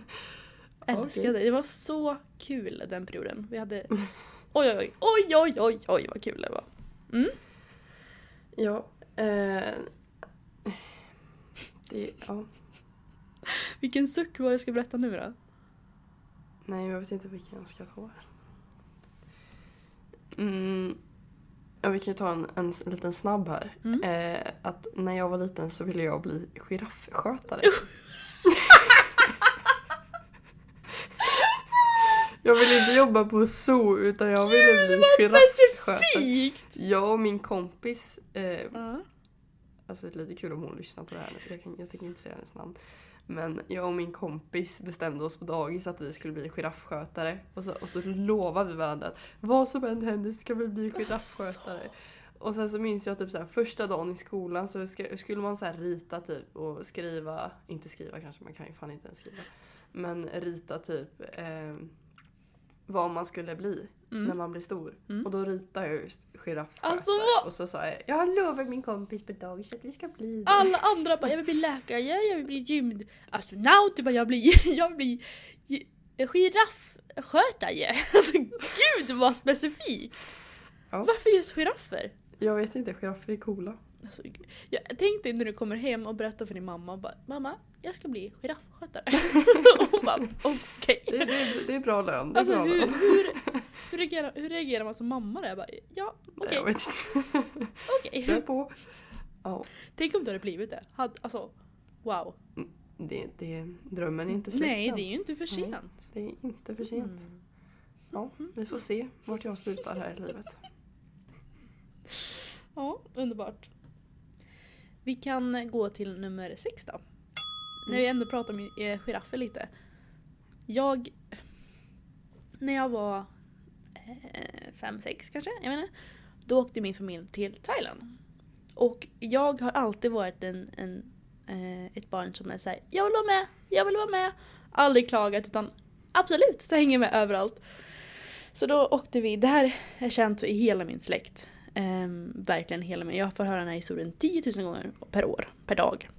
[SPEAKER 2] Älskade
[SPEAKER 3] Okej.
[SPEAKER 2] det. Det var så kul den perioden. Vi hade... Oj, oj, oj, oj, oj, oj, oj vad kul det var.
[SPEAKER 3] Ja. Eh, det, ja.
[SPEAKER 2] Vilken suck var det jag ska berätta nu
[SPEAKER 3] Mm.
[SPEAKER 2] då?
[SPEAKER 3] Nej, jag vet inte vilken jag ska ta. Mm. Ja, vi kan ju ta en, en s- liten snabb här.
[SPEAKER 2] Mm.
[SPEAKER 3] Eh, att när jag var liten så ville jag bli giraffskötare. jag ville inte jobba på zoo utan jag ville bli giraffskötare.
[SPEAKER 2] Fikt!
[SPEAKER 3] Jag och min kompis, eh,
[SPEAKER 2] Ja.
[SPEAKER 3] alltså det är lite kul om hon lyssnar på det här nu, jag, kan, jag tänker inte säga hennes namn. Men jag och min kompis bestämde oss på dagis att vi skulle bli giraffskötare. Och så, och så lovade vi varandra att vad som än händer ska vi bli giraffskötare. Och sen så minns jag typ så här, första dagen i skolan så ska, skulle man så här rita typ och skriva, inte skriva kanske, man kan ju fan inte ens skriva. Men rita typ eh, vad man skulle bli när man blir stor. Och då ritade jag just giraffskötare.
[SPEAKER 2] Alltså, vad-
[SPEAKER 3] och så sa jag, jag lovar min kompis på dagis att vi ska bli det.
[SPEAKER 2] Alla andra bara jag vill bli läkare, jag vill bli gymnastronaut, du bara jag blir, jag blir gi- giraffskötare. Alltså gud vad specifikt!
[SPEAKER 3] Ja.
[SPEAKER 2] Varför just giraffer?
[SPEAKER 3] Jag vet inte, giraffer är coola.
[SPEAKER 2] Alltså, gud. jag, tänk dig när du kommer hem och berättar för din mamma och bara mamma jag ska bli giraffskötare. och hon bara okej.
[SPEAKER 3] Det, det, det är bra lön. Det är
[SPEAKER 2] Alltså
[SPEAKER 3] bra
[SPEAKER 2] hur,
[SPEAKER 3] lön.
[SPEAKER 2] hur, hur, reagerar, hur reagerar man som mamma där? Jag bara, ja
[SPEAKER 3] Nej,
[SPEAKER 2] okej,
[SPEAKER 3] Jag vet inte.
[SPEAKER 2] okej.
[SPEAKER 3] Kör på. Ja,
[SPEAKER 2] Tänk om du hade blivit det. Had, alltså wow.
[SPEAKER 3] det, det, drömmen är inte slut
[SPEAKER 2] Nej
[SPEAKER 3] än.
[SPEAKER 2] det är ju inte för sent.
[SPEAKER 3] Nej.
[SPEAKER 2] Mm.
[SPEAKER 3] det är inte för sent. Ja, vi får se vart jag slutar här i livet.
[SPEAKER 2] Ja, underbart. Vi kan gå till nummer sex då. När vi ändå pratar om eh, giraffer lite. Jag... När jag var eh, fem, sex kanske, jag menar. Då åkte min familj till Thailand. Och jag har alltid varit en, en, eh, ett barn som är såhär, jag vill vara med, jag vill vara med. Aldrig klagat utan absolut, så hänger jag med överallt. Så då åkte vi, det här är känt i hela min släkt. Ehm, verkligen hela mig. Jag får höra den här historien 10 000 gånger per år, per dag.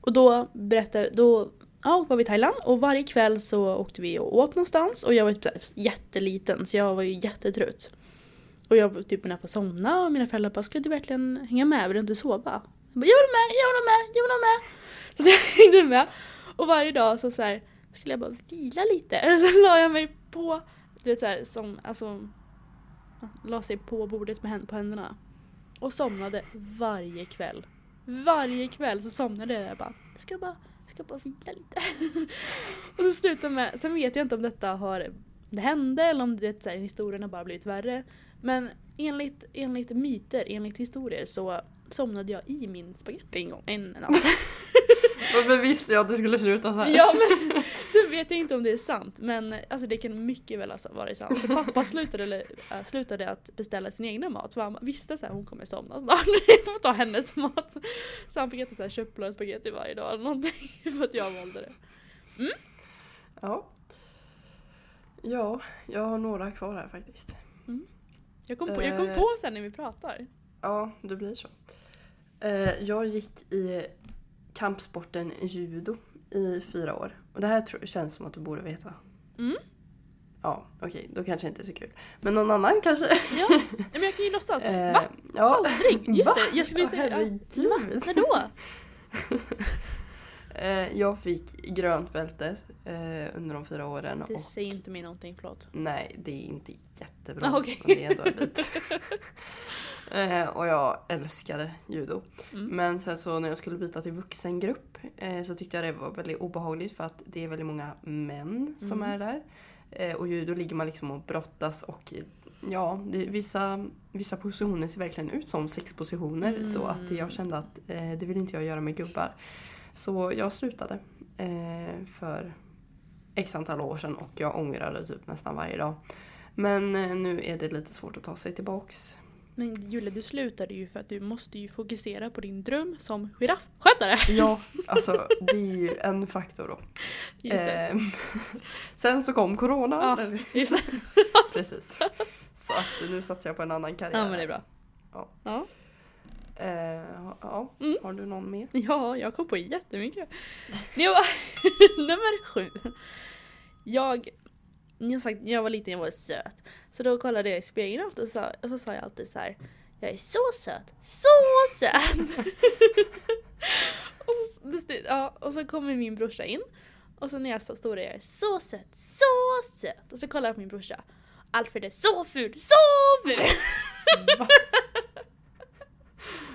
[SPEAKER 2] Och då berättar, då ja, var vi i Thailand och varje kväll så åkte vi och åt någonstans och jag var typ så här jätteliten så jag var ju jättetrött. Och jag var typ nära på att somna och mina föräldrar bara “ska du verkligen hänga med? Vill du inte sova?” jag, bara, “jag vill med, jag vill med, jag vill med!” Så jag hängde med. Och varje dag så, så här, skulle jag bara vila lite. Så la jag mig på, du vet så här, som, alltså la sig på bordet med händ på händerna. Och somnade varje kväll. Varje kväll så somnade jag och bara, jag ska bara, jag ska bara vila lite. och så slutade med, sen vet jag inte om detta har, det hände eller om det så här, historien har bara blivit värre. Men enligt, enligt myter, enligt historier så somnade jag i min spagetti en gång, en natt.
[SPEAKER 3] Varför visste jag att det skulle sluta så här?
[SPEAKER 2] Ja men sen vet jag inte om det är sant men alltså det kan mycket väl ha varit sant. För pappa slutade, eller, äh, slutade att beställa sin egna mat för han visste såhär hon kommer somna snart, jag får ta hennes mat. Så han fick äta såhär köttbullar och spagetti varje dag eller någonting för att jag valde det.
[SPEAKER 3] Ja. Ja, jag har några kvar här faktiskt.
[SPEAKER 2] Jag kom på, jag kom på sen när vi pratar.
[SPEAKER 3] Ja, det blir så. Eh, Jag gick i kampsporten judo i fyra år. Och det här tror- känns som att du borde veta.
[SPEAKER 2] Mm.
[SPEAKER 3] Ja, okej, då kanske inte är så kul. Men någon annan kanske?
[SPEAKER 2] Ja, Nej, men jag kan ju låtsas.
[SPEAKER 3] Eh,
[SPEAKER 2] Va?
[SPEAKER 3] Ja.
[SPEAKER 2] Aldrig! Just
[SPEAKER 3] Va?
[SPEAKER 2] det, jag skulle ju
[SPEAKER 3] Ja,
[SPEAKER 2] säga. Ja,
[SPEAKER 3] Herregud.
[SPEAKER 2] när då?
[SPEAKER 3] Eh, Jag fick grönt bälte eh, under de fyra åren.
[SPEAKER 2] Det
[SPEAKER 3] och-
[SPEAKER 2] säger inte mig någonting, förlåt.
[SPEAKER 3] Nej, det är inte jättebra.
[SPEAKER 2] Ah, okej.
[SPEAKER 3] Men det är ändå en bit. Eh, och jag älskade judo.
[SPEAKER 2] Mm.
[SPEAKER 3] Men sen så när jag skulle byta till vuxengrupp eh, så tyckte jag det var väldigt obehagligt för att det är väldigt många män som
[SPEAKER 2] Mm.
[SPEAKER 3] är där. Eh, och judo ligger man liksom och brottas och ja, det, vissa, vissa positioner ser verkligen ut som sexpositioner så att
[SPEAKER 2] Mm.
[SPEAKER 3] jag kände att eh, det vill inte jag göra med gubbar. Så jag slutade eh, för x antal år sedan och jag ångrade typ nästan varje dag. Men eh, nu är det lite svårt att ta sig tillbaks.
[SPEAKER 2] Men Julia du slutade ju för att du måste ju fokusera på din dröm som giraffskötare.
[SPEAKER 3] Ja, alltså det är ju en faktor då.
[SPEAKER 2] Just det.
[SPEAKER 3] Ehm, sen så kom corona.
[SPEAKER 2] Ja, just det.
[SPEAKER 3] Precis. Så att nu satsar jag på en annan karriär.
[SPEAKER 2] Ja men det är bra.
[SPEAKER 3] Ja.
[SPEAKER 2] Ja,
[SPEAKER 3] Eh, ja,
[SPEAKER 2] Mm.
[SPEAKER 3] har du någon mer?
[SPEAKER 2] ja jag kom på jättemycket. Det var nummer sju. Jag, ni har sagt, när jag var liten jag var söt. Så då kollade jag i spegeln och så, sa- och så sa jag alltid så här. Jag är så söt, så söt! och, så, det stod- ja, och så kommer min brorsa in. Och så när jag sa stora jag är så söt, så söt! Och så kollar jag på min brorsa. Alfred är så ful, så ful!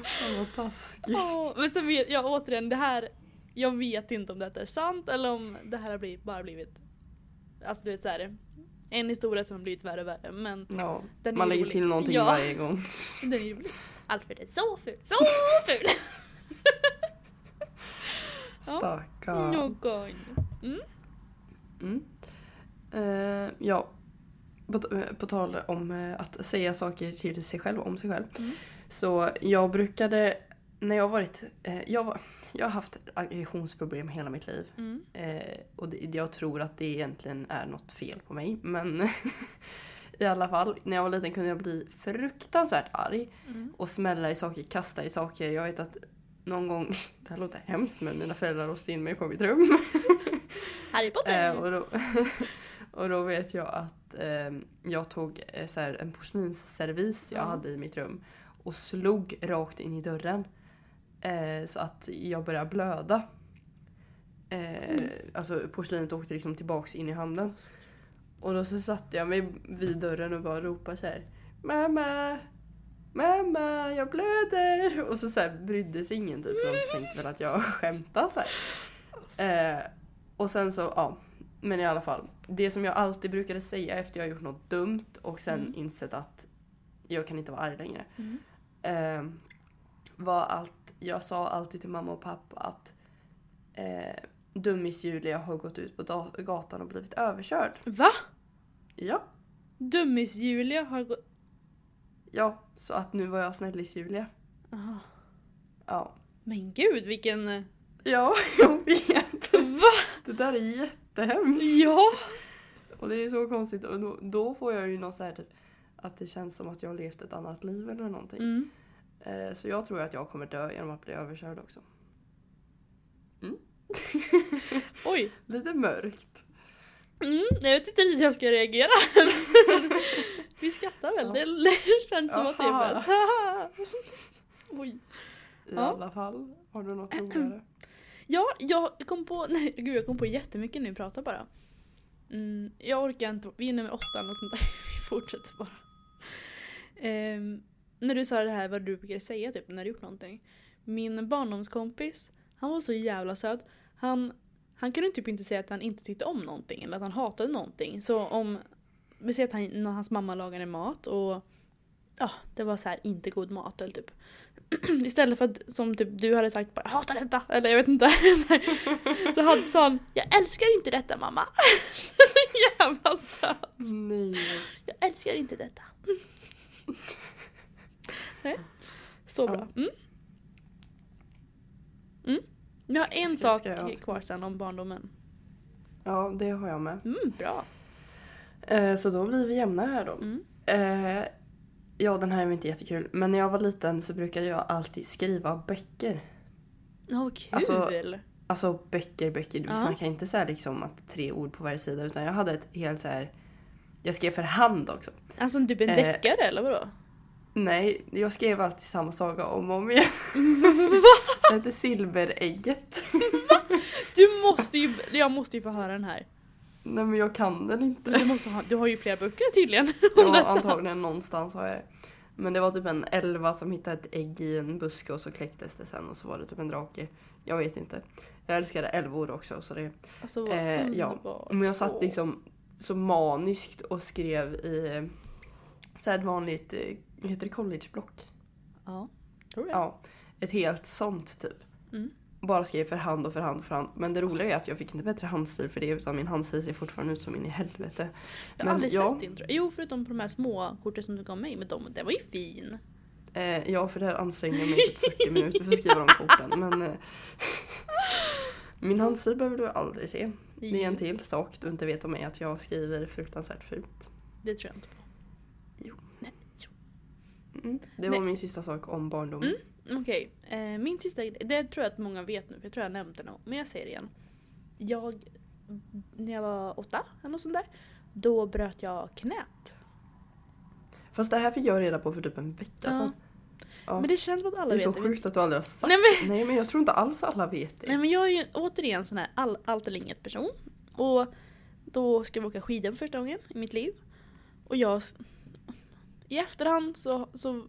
[SPEAKER 3] Fan vad taskigt.
[SPEAKER 2] Åh, men sen vet jag återigen, det här, jag vet inte om detta är sant eller om det här har blivit, bara blivit, alltså du vet såhär, en historia som har blivit värre och värre men
[SPEAKER 3] Ja,
[SPEAKER 2] Den är
[SPEAKER 3] man lägger
[SPEAKER 2] rolig.
[SPEAKER 3] till någonting
[SPEAKER 2] Ja.
[SPEAKER 3] varje gång.
[SPEAKER 2] den är ju rolig. Alfred är så ful, så ful! Ja.
[SPEAKER 3] Stackarn.
[SPEAKER 2] Någon. Mm.
[SPEAKER 3] Mm. Eh, ja, på, eh, på tal om eh, att säga saker till sig själv om sig själv.
[SPEAKER 2] Mm.
[SPEAKER 3] Så jag brukade, när jag varit, eh, jag, var, jag har haft aggressionsproblem hela mitt liv.
[SPEAKER 2] Mm.
[SPEAKER 3] Eh, och det, jag tror att det egentligen är något fel på mig. Men i alla fall, när jag var liten kunde jag bli fruktansvärt arg.
[SPEAKER 2] Mm.
[SPEAKER 3] Och smälla i saker, kasta i saker. Jag vet att någon gång, det här låter hemskt men mina föräldrar låste in mig på mitt rum.
[SPEAKER 2] Harry Potter!
[SPEAKER 3] Eh, och, då, och då vet jag att eh, jag tog eh, så här, en porslinsservis jag
[SPEAKER 2] Ja.
[SPEAKER 3] hade i mitt rum och slog rakt in i dörren. Eh, så att jag började blöda. Eh, Alltså porslinet åkte liksom tillbaks in i handen. Och då så satte jag mig vid dörren och bara ropade så här Mamma! Mamma, jag blöder! Och så, så här, brydde sig ingen typ för de tänkte väl att jag skämtade så här. Eh, och sen så, ja. Men i alla fall. Det som jag alltid brukade säga efter jag gjort något dumt och sen
[SPEAKER 2] Mm.
[SPEAKER 3] insett att jag kan inte vara arg längre.
[SPEAKER 2] Mm.
[SPEAKER 3] Eh, var allt, jag sa alltid till mamma och pappa att eh, dummis Julia har gått ut på da- gatan och blivit överkörd.
[SPEAKER 2] Va?
[SPEAKER 3] Ja.
[SPEAKER 2] Dummis-Julia har gått...
[SPEAKER 3] Ja, så att nu var jag snällis Julia.
[SPEAKER 2] Aha.
[SPEAKER 3] Ja.
[SPEAKER 2] Ah, Men gud vilken...
[SPEAKER 3] Ja, jag vet.
[SPEAKER 2] Va?
[SPEAKER 3] Det där är jättehemskt.
[SPEAKER 2] Ja!
[SPEAKER 3] Och det är så konstigt. Och då, då får jag ju något så här typ att det känns som att jag har levt ett annat liv eller någonting.
[SPEAKER 2] Mm.
[SPEAKER 3] Eh, så jag tror att jag kommer dö genom att bli överkörd också.
[SPEAKER 2] Oj!
[SPEAKER 3] Lite mörkt.
[SPEAKER 2] Mm, jag vet inte riktigt hur jag ska reagera. Vi skrattar väl?
[SPEAKER 3] Ja.
[SPEAKER 2] Det känns som att det är
[SPEAKER 3] Aha.
[SPEAKER 2] bäst. Oj.
[SPEAKER 3] I
[SPEAKER 2] Ja.
[SPEAKER 3] alla fall. Har du något roligare?
[SPEAKER 2] Ja, jag kom på, nej gud jag kom på jättemycket när vi pratar bara. Mm, jag orkar inte, vi är nummer åtta och sånt där. Vi fortsätter bara. Ehm, när du sa det här vad du brukar säga typ när du gjort någonting. Min barndomskompis, han var så jävla söt. Han, han kunde typ inte säga att han inte tyckte om någonting eller att han hatade någonting. Så om, vi säger att han, när hans mamma lagade mat och ja, det var så här inte god mat eller typ Istället för att som typ du hade sagt bara, jag hatar detta, eller jag vet inte. Så, här, så han sa han, jag älskar inte detta mamma. Så jävla söt.
[SPEAKER 3] Nej.
[SPEAKER 2] Jag älskar inte detta. Nej. Så bra. Mm. Mm. Jag har
[SPEAKER 3] Ska-
[SPEAKER 2] en
[SPEAKER 3] ska-
[SPEAKER 2] sak
[SPEAKER 3] ska jag-
[SPEAKER 2] kvar sen om barndomen.
[SPEAKER 3] Ja, det har jag med.
[SPEAKER 2] Mm, bra.
[SPEAKER 3] Eh, så då blir vi jämna här då.
[SPEAKER 2] Mm.
[SPEAKER 3] Eh, ja, den här är inte jättekul. Men när jag var liten så brukade jag alltid skriva böcker.
[SPEAKER 2] Åh kul.
[SPEAKER 3] Alltså- Alltså böcker, böcker. Vi
[SPEAKER 2] Ja.
[SPEAKER 3] snackar inte så här liksom att tre ord på varje sida. Utan jag hade ett helt så här... Jag skrev för hand också.
[SPEAKER 2] Alltså typ en
[SPEAKER 3] eh,
[SPEAKER 2] deckare eller vadå?
[SPEAKER 3] Nej, jag skrev alltid samma saga om och om igen. Det hette Silverägget.
[SPEAKER 2] Du måste ju, jag måste ju få höra den här.
[SPEAKER 3] Nej men jag kan den inte.
[SPEAKER 2] Du, måste ha, du har ju flera böcker tydligen. om
[SPEAKER 3] Ja,
[SPEAKER 2] detta.
[SPEAKER 3] antagligen någonstans har jag det. Men det var typ en elva som hittade ett ägg i en buske och så kläcktes det sen och så var det typ en drake. Jag vet inte. Jag älskade älvor också så det...
[SPEAKER 2] Alltså vad
[SPEAKER 3] Eh, ja.
[SPEAKER 2] underbart.
[SPEAKER 3] Men jag satt
[SPEAKER 2] Åh.
[SPEAKER 3] liksom så maniskt och skrev i eh, så här ett vanligt, eh, heter det collegeblock?
[SPEAKER 2] Ja, tror jag.
[SPEAKER 3] Ja, ett helt sånt typ.
[SPEAKER 2] Mm.
[SPEAKER 3] bara skrev för hand och för hand och för hand. Men det roliga är att jag fick inte bättre handstil för det utan min handstil ser fortfarande ut som in i helvete.
[SPEAKER 2] Jag har aldrig sett din tror jag. Jo förutom på de här små korten som du gav mig, men de, den var ju fin.
[SPEAKER 3] Eh, ja, för det här ansträngde jag mig i typ 40 minuter för att skriva de korten. Men eh, min handstil behöver du aldrig se. Det är en till sak du inte vet om mig, att jag skriver fruktansvärt fult.
[SPEAKER 2] Det tror jag inte på.
[SPEAKER 3] Jo.
[SPEAKER 2] Nej, jo.
[SPEAKER 3] Mm. Det var
[SPEAKER 2] Nej.
[SPEAKER 3] min sista sak om barndom.
[SPEAKER 2] Mm. Okej, eh, min sista grej. Det tror jag att många vet nu, för jag tror jag nämnde det någon, Men jag säger det igen. Jag, när jag var åtta eller något sånt där, då bröt jag knät.
[SPEAKER 3] Fast det här fick jag reda på för typ en vecka
[SPEAKER 2] Ja.
[SPEAKER 3] sedan. Ja.
[SPEAKER 2] Men det känns som att alla
[SPEAKER 3] Det är
[SPEAKER 2] vet
[SPEAKER 3] så
[SPEAKER 2] det.
[SPEAKER 3] sjukt att du aldrig har sagt
[SPEAKER 2] Nej, men-
[SPEAKER 3] Nej men jag tror inte alls alla vet det.
[SPEAKER 2] Nej men jag är ju återigen sån här all, allt eller inget person. Och då ska vi åka skidor för första gången i mitt liv. Och jag... I efterhand så... så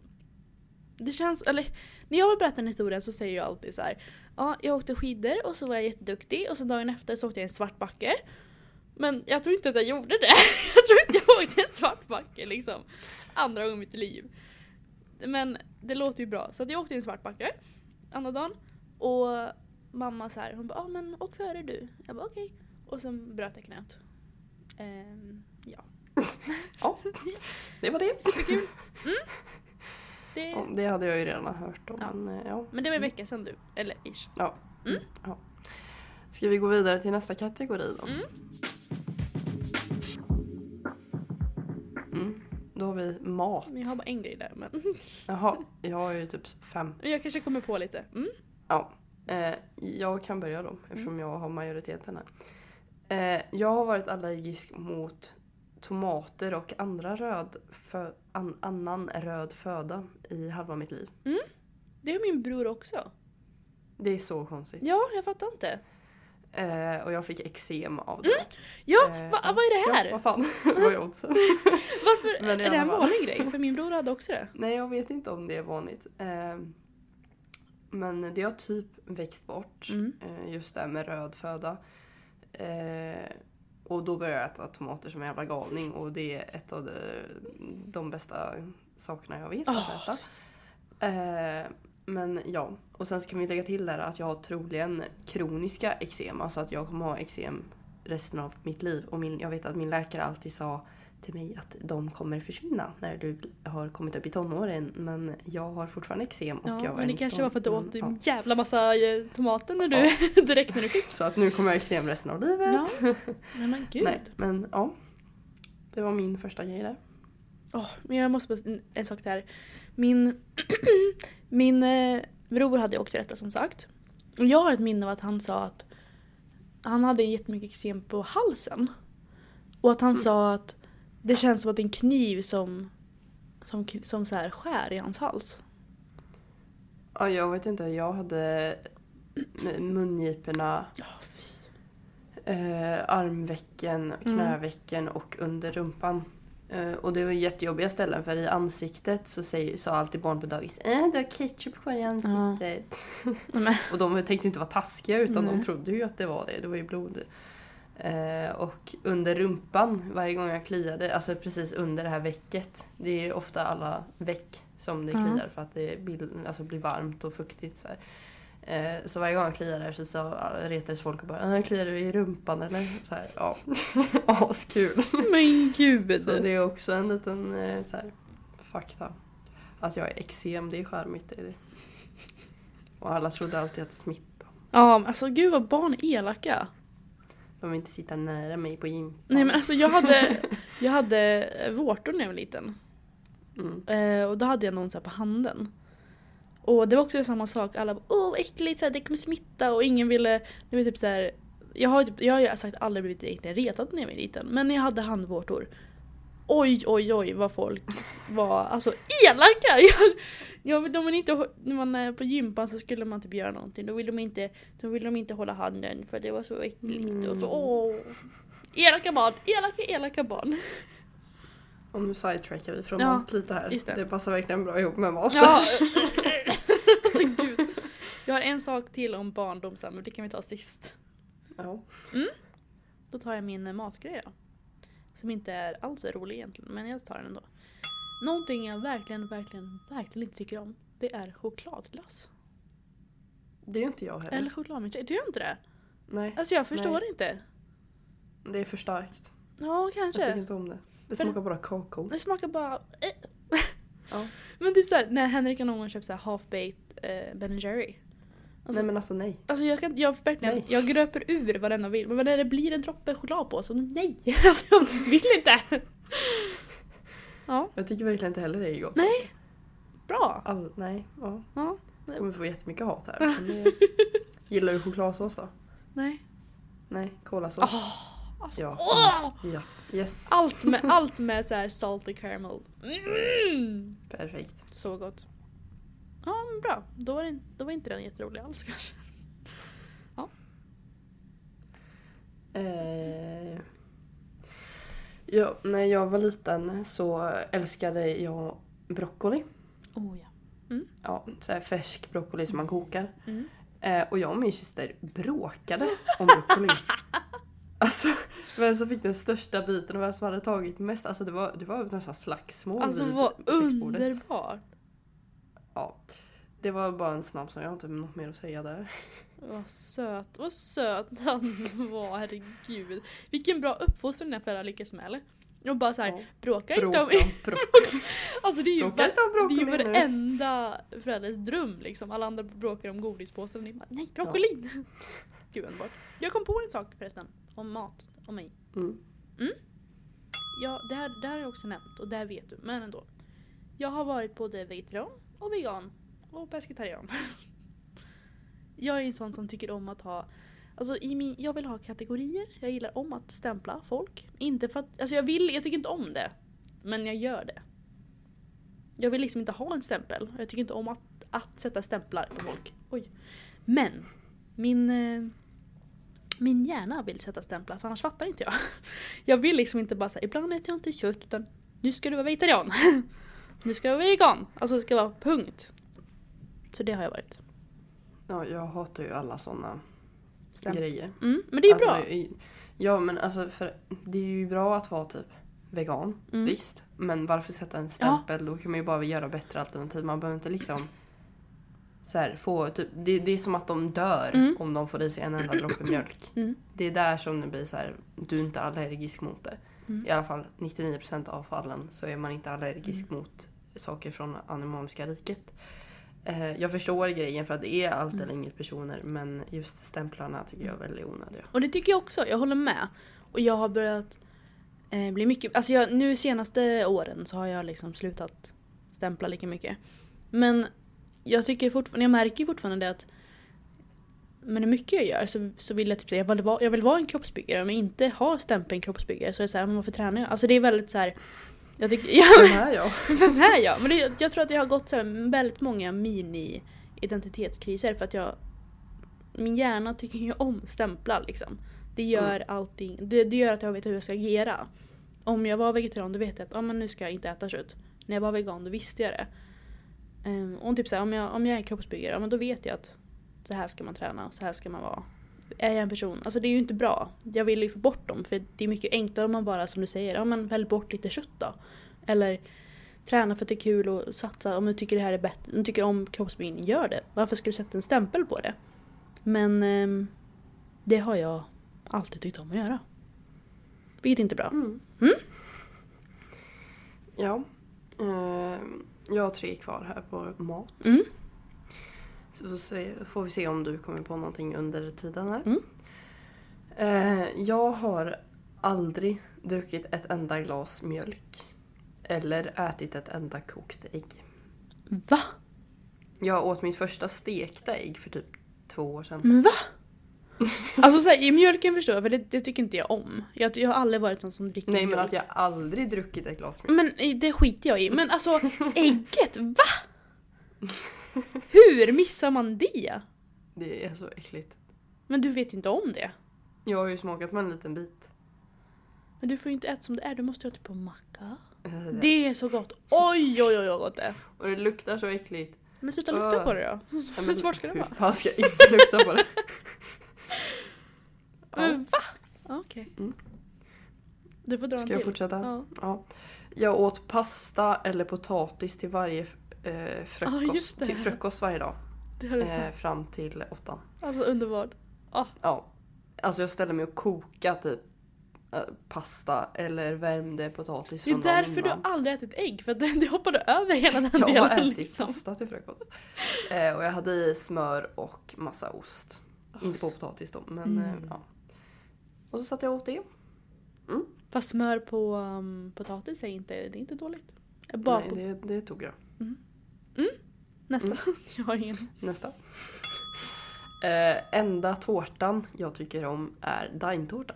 [SPEAKER 2] det känns... Eller när jag berättar den historien så säger jag alltid så här. Ja, jag åkte skidor och så var jag jätteduktig och så dagen efter så åkte jag en svart backe. Men jag tror inte att jag gjorde det. Jag tror inte jag åkte en svart backe liksom. Andra gången i mitt liv. Men det låter ju bra. Så att jag åkte en svart backe andra dagen. Och mamma så här, hon bara ah, men åk före du. Jag bara okej. Och sen bröt jag knät. Ehm, ja.
[SPEAKER 3] Ja, det var det.
[SPEAKER 2] Superkul. Mm. Det,
[SPEAKER 3] Ja, det hade jag ju redan hört om.
[SPEAKER 2] Ja.
[SPEAKER 3] Men, eh, ja.
[SPEAKER 2] Men det var en vecka sedan du, eller ish.
[SPEAKER 3] Ja.
[SPEAKER 2] Mm.
[SPEAKER 3] ja. Ska vi gå vidare till nästa kategori då?
[SPEAKER 2] Mm.
[SPEAKER 3] Mm. Då har vi mat.
[SPEAKER 2] Men jag har bara en grej där men
[SPEAKER 3] Jaha, jag har ju typ fem.
[SPEAKER 2] jag kanske kommer på lite. Mm.
[SPEAKER 3] Ja. Eh, jag kan börja då eftersom jag har majoriteten här. Eh, jag har varit allergisk mot tomater och andra röd fö- an- annan röd föda i halva mitt liv.
[SPEAKER 2] Det har min bror också.
[SPEAKER 3] Det är så konstigt.
[SPEAKER 2] Ja, jag fattar inte.
[SPEAKER 3] Eh, och jag fick eksem av det.
[SPEAKER 2] Ja,
[SPEAKER 3] Eh,
[SPEAKER 2] va, ah, vad är det här?
[SPEAKER 3] Ja, vad fan. vad är oddsen?
[SPEAKER 2] Varför
[SPEAKER 3] Men i
[SPEAKER 2] är det
[SPEAKER 3] alla
[SPEAKER 2] en
[SPEAKER 3] fall.
[SPEAKER 2] vanlig grej? För min bror hade också det.
[SPEAKER 3] Nej, jag vet inte om det är vanligt. Eh, men det har typ växt bort.
[SPEAKER 2] Mm.
[SPEAKER 3] Eh, just det här med röd föda. Eh, och då började jag äta tomater som en jävla galning och det är ett av de, de bästa sakerna jag vet
[SPEAKER 2] Åh.
[SPEAKER 3] att äta. Eh, men ja, och sen ska vi lägga till där att jag har troligen kroniska eksem. Alltså att jag kommer ha eksem resten av mitt liv. Och min, jag vet att min läkare alltid sa till mig att de kommer försvinna när du har kommit upp i tonåren. Men jag har fortfarande eksem och jag
[SPEAKER 2] Ja,
[SPEAKER 3] är
[SPEAKER 2] men det
[SPEAKER 3] 19.
[SPEAKER 2] kanske var för att du åt
[SPEAKER 3] Mm,
[SPEAKER 2] en jävla massa eh, tomater när du, direkt när du fick.
[SPEAKER 3] ja. Så att nu kommer jag ha eksem resten av livet.
[SPEAKER 2] Ja. Nej men gud.
[SPEAKER 3] Nej, men ja. Det var min första grej där.
[SPEAKER 2] Åh, men jag måste bara, en sak där. Min, min eh, bror hade ju också detta som sagt. Och jag har ett minne av att han sa att han hade jättemycket eksem på halsen. Och att han sa att det känns som att det är en kniv som, som, som så här skär i hans hals.
[SPEAKER 3] Ja, jag vet inte, jag hade m- mungiporna, eh, armvecken, knävecken och under rumpan. Eh, och det var jättejobbiga ställen för i ansiktet så säger, sa alltid barn på dagis äh, du har ketchup kvar i ansiktet.
[SPEAKER 2] Nej, men,
[SPEAKER 3] Och de tänkte inte vara taskiga utan
[SPEAKER 2] Nej.
[SPEAKER 3] de trodde ju att det var det, det var ju blod. Eh, och under rumpan, varje gång jag kliade, alltså precis under det här vecket. Det är ofta alla veck som det
[SPEAKER 2] Ja.
[SPEAKER 3] kliar för att det blir, alltså blir varmt och fuktigt. Så, här. Eh, så varje gång jag kliar där så, så retades folk och bara "Äh, “kliar du i rumpan eller?” så här, ja. Askul!
[SPEAKER 2] men gud.
[SPEAKER 3] Så det är också en liten eh, så här, fakta. Att jag är eksem, det är charmigt. Det är det. Och alla trodde alltid att smitta.
[SPEAKER 2] Ja, men alltså gud vad barn är elaka.
[SPEAKER 3] De vill inte sitta nära mig på gympan.
[SPEAKER 2] Nej men alltså jag hade, jag hade eh, vårtor när jag var liten.
[SPEAKER 3] Mm.
[SPEAKER 2] Eh, och då hade jag någon så här på handen. Och det var också samma sak. Alla bara åh vad äckligt, så här, det kommer smitta och ingen ville... Det var typ så här, jag, har, ju typ, jag har ju sagt aldrig blivit egentligen retad när jag var liten. Men när jag hade handvårtor. Oj oj oj vad folk var alltså elaka! Jag, jag, de vill inte, hå- när man är på gympan så skulle man typ göra någonting. Då vill de inte, då vill de inte hålla handen för det var så äckligt. Och så, åh. Elaka barn, elaka elaka barn.
[SPEAKER 3] Och nu sidetrackar vi från
[SPEAKER 2] Ja,
[SPEAKER 3] mat lite här.
[SPEAKER 2] just det.
[SPEAKER 3] Det. passar verkligen bra ihop med maten.
[SPEAKER 2] Ja. alltså gud. Jag har en sak till om barndom sen, men det kan vi ta sist.
[SPEAKER 3] Ja.
[SPEAKER 2] Då tar jag min eh, matgrej då. Som inte är alls rolig egentligen, men jag tar den ändå. Någonting jag verkligen, verkligen, verkligen inte tycker om, det är chokladglass.
[SPEAKER 3] Det är ju inte jag heller.
[SPEAKER 2] Eller chokladmilkshake, du gör inte det?
[SPEAKER 3] Nej,
[SPEAKER 2] Alltså jag förstår inte.
[SPEAKER 3] det är för starkt.
[SPEAKER 2] Ja,
[SPEAKER 3] Jag tycker
[SPEAKER 2] kanske.
[SPEAKER 3] inte om det. Det
[SPEAKER 2] För- Alltså-
[SPEAKER 3] smakar bara kakao.
[SPEAKER 2] Det smakar bara... eh.
[SPEAKER 3] Ja.
[SPEAKER 2] Men typ såhär, när Henrik har någon gång köpt såhär half-baked eh, Ben Jerry. Alltså-
[SPEAKER 3] Nej men alltså nej.
[SPEAKER 2] Alltså jag kan, jag verkligen,
[SPEAKER 3] Nej.
[SPEAKER 2] jag gröper ur vad den vill. Men när det blir en droppe choklad på så nej! Alltså jag vill inte! Ja,
[SPEAKER 3] Jag tycker verkligen inte heller det är gott.
[SPEAKER 2] nej. Bra.
[SPEAKER 3] All, nej, ja.
[SPEAKER 2] Ja,
[SPEAKER 3] Jag kommer få jättemycket hat här. Men det... Gillar du chokladsås då?
[SPEAKER 2] nej.
[SPEAKER 3] Nej, kolasås.
[SPEAKER 2] Åh! alltså,
[SPEAKER 3] Ja.
[SPEAKER 2] åh!
[SPEAKER 3] Ja, yes.
[SPEAKER 2] Allt med, allt med så här salty caramel. Mm!
[SPEAKER 3] Perfekt.
[SPEAKER 2] Så gott. Ja, men bra. Då var, det, då var inte den jätterolig alls kanske.
[SPEAKER 3] Eh... Ja, när jag var liten så älskade jag broccoli.
[SPEAKER 2] Oh ja.
[SPEAKER 3] Ja, så här färsk broccoli som man kokar.
[SPEAKER 2] Mm.
[SPEAKER 3] Eh, och jag och min syster bråkade om broccoli. alltså, vem som fick den största biten och vem som hade tagit mest. Alltså det var, det var nästan slagsmål
[SPEAKER 2] Alltså
[SPEAKER 3] vid
[SPEAKER 2] vad
[SPEAKER 3] köksbordet.
[SPEAKER 2] underbart.
[SPEAKER 3] Ja. Det var bara en snabb som jag har inte något mer att säga där.
[SPEAKER 2] Vad söt, vad söt han var, herregud. Vilken bra uppfostran dina föräldrar lyckas med eller? Och bara såhär,
[SPEAKER 3] Ja.
[SPEAKER 2] bråka inte
[SPEAKER 3] Bråka om
[SPEAKER 2] om...
[SPEAKER 3] broccoli.
[SPEAKER 2] Alltså det är ju,
[SPEAKER 3] Bråka inte om
[SPEAKER 2] var, det är ju
[SPEAKER 3] broccoli nu.
[SPEAKER 2] varenda förälders dröm liksom. Alla andra bråkar om godispåsen och ni bara, nej broccoli! Gud underbart. Jag kom på en sak förresten, om mat, om mig.
[SPEAKER 3] Mm.
[SPEAKER 2] Ja, det här, det här har jag också nämnt och det här vet du, men ändå. Jag har varit både vegetarian och vegan och pescetarian. Jag är en sån som tycker om att ha, alltså i min, jag vill ha kategorier, jag gillar om att stämpla folk. Inte för att, alltså jag vill, jag tycker inte om det. Men jag gör det. Jag vill liksom inte ha en stämpel. Jag tycker inte om att, att sätta stämplar på folk. Oj. Men, min, eh, min hjärna vill sätta stämplar för annars fattar inte jag. Jag vill liksom inte bara säga ibland äter jag inte kött utan nu ska du vara vegetarian. nu ska du vara vegan. Alltså det ska vara punkt. Så det har jag varit.
[SPEAKER 3] Ja, jag hatar ju alla sådana
[SPEAKER 2] Stäm.
[SPEAKER 3] grejer.
[SPEAKER 2] Mm, men det är
[SPEAKER 3] alltså,
[SPEAKER 2] bra.
[SPEAKER 3] i- Ja men alltså för det är ju bra att vara typ vegan,
[SPEAKER 2] Mm.
[SPEAKER 3] visst. Men varför sätta en stämpel? Då kan man ju bara göra bättre alternativ. Man behöver inte liksom så här, få, typ, det, det är som att de dör
[SPEAKER 2] Mm.
[SPEAKER 3] om de får i sig en enda droppe mjölk.
[SPEAKER 2] Mm.
[SPEAKER 3] Det är där som det blir så här, du är inte allergisk mot det.
[SPEAKER 2] Mm.
[SPEAKER 3] I alla fall 99% av fallen så är man inte allergisk
[SPEAKER 2] Mm.
[SPEAKER 3] mot saker från animaliska riket. Eh, jag förstår grejen för att det är allt
[SPEAKER 2] Mm.
[SPEAKER 3] eller inget personer men just stämplarna tycker jag är väldigt onödiga.
[SPEAKER 2] Och det tycker jag också, jag håller med. Och jag har börjat eh, bli mycket, alltså jag, nu senaste åren så har jag liksom slutat stämpla lika mycket. Men jag tycker fortfarande, jag märker fortfarande det att men det mycket jag gör så, så vill jag typ säga jag vill, vara, jag vill vara en kroppsbyggare om jag inte har stämpeln kroppsbyggare så är det såhär, men varför tränar jag? Alltså det är väldigt såhär, jag tycker, ja,
[SPEAKER 3] Den här jag.
[SPEAKER 2] Vem är jag? Men det, jag tror att jag har gått så här väldigt många mini-identitetskriser för att jag... Min hjärna tycker ju om stämplar liksom. Det gör allting. Det, det gör att jag vet hur jag ska agera. Om jag var vegetarian då vet jag att ah, men nu ska jag inte äta kött. När jag var vegan då visste jag det. Ehm, och typ så här, om, jag, om jag är kroppsbyggare ja, men då vet jag att så här ska man träna, så här ska man vara. Är jag en person? Alltså det är ju inte bra. Jag vill ju få bort dem för det är mycket enklare om man bara som du säger, ja men välj bort lite kött då. Eller träna för att det är kul och satsa om du tycker det här är bättre, om du tycker om kroppsbyggning, gör det. Varför ska du sätta en stämpel på det? Men ehm, det har jag alltid tyckt om att göra. Vilket inte är bra.
[SPEAKER 3] Mm. Ja. Eh, jag har tre kvar här på mat.
[SPEAKER 2] Mm.
[SPEAKER 3] Så, så se- får vi se om du kommer på någonting under tiden här.
[SPEAKER 2] Mm.
[SPEAKER 3] Eh, jag har aldrig druckit ett enda glas mjölk. Eller ätit ett enda kokt ägg.
[SPEAKER 2] Va?
[SPEAKER 3] Jag åt mitt första stekta ägg för typ två år sedan.
[SPEAKER 2] Men va? Alltså så här, i mjölken förstår jag för det, det tycker inte jag om. Jag, jag har aldrig varit sån som dricker
[SPEAKER 3] Nej men
[SPEAKER 2] mjölk.
[SPEAKER 3] att jag aldrig druckit ett glas mjölk.
[SPEAKER 2] Men i- det skiter jag i. Men alltså ägget, va? Hur missar man det?
[SPEAKER 3] Det är så äckligt.
[SPEAKER 2] Men du vet inte om det.
[SPEAKER 3] Jag har ju smakat på en liten bit.
[SPEAKER 2] Men du får ju inte äta som det är, du måste äta på macka.
[SPEAKER 3] Eh,
[SPEAKER 2] Det är så gott. Oj, oj, oj vad gott det är.
[SPEAKER 3] Och det luktar så äckligt.
[SPEAKER 2] Men sluta lukta
[SPEAKER 3] Ah.
[SPEAKER 2] på det då.
[SPEAKER 3] Nej,
[SPEAKER 2] Hur svårt ska det
[SPEAKER 3] hur
[SPEAKER 2] vara?
[SPEAKER 3] fan ska jag inte lukta på det? ja.
[SPEAKER 2] Men va? Ja, Okej.
[SPEAKER 3] Mm.
[SPEAKER 2] Du får dra en
[SPEAKER 3] Ska jag
[SPEAKER 2] till.
[SPEAKER 3] fortsätta? Ja.
[SPEAKER 2] Ja.
[SPEAKER 3] Jag åt pasta eller potatis till varje eh,
[SPEAKER 2] Ja, just
[SPEAKER 3] frukost,
[SPEAKER 2] det.
[SPEAKER 3] till frukost varje dag.
[SPEAKER 2] Det här är
[SPEAKER 3] eh,
[SPEAKER 2] sant.
[SPEAKER 3] fram till åttan.
[SPEAKER 2] Alltså underbart. Ah,
[SPEAKER 3] Ja. Alltså jag ställde mig och kokade typ eh, pasta eller värmde potatis
[SPEAKER 2] det är
[SPEAKER 3] från dagen
[SPEAKER 2] därför du
[SPEAKER 3] innan.
[SPEAKER 2] aldrig ätit ägg, för att du hoppade över hela den
[SPEAKER 3] Jag har
[SPEAKER 2] delen
[SPEAKER 3] ätit
[SPEAKER 2] liksom.
[SPEAKER 3] pasta till frukost. Eh, och jag hade i smör och massa ost. Inte på potatis då men
[SPEAKER 2] Mm.
[SPEAKER 3] eh, ja. Och så satt jag och åt det.
[SPEAKER 2] Fast smör på um, potatis är inte, det är inte dåligt. Jag bara
[SPEAKER 3] Nej,
[SPEAKER 2] på
[SPEAKER 3] det, Mm. det tog jag.
[SPEAKER 2] nästa. Jag har ingen.
[SPEAKER 3] Nästa. Eh, enda tårtan jag tycker om är daimtårta.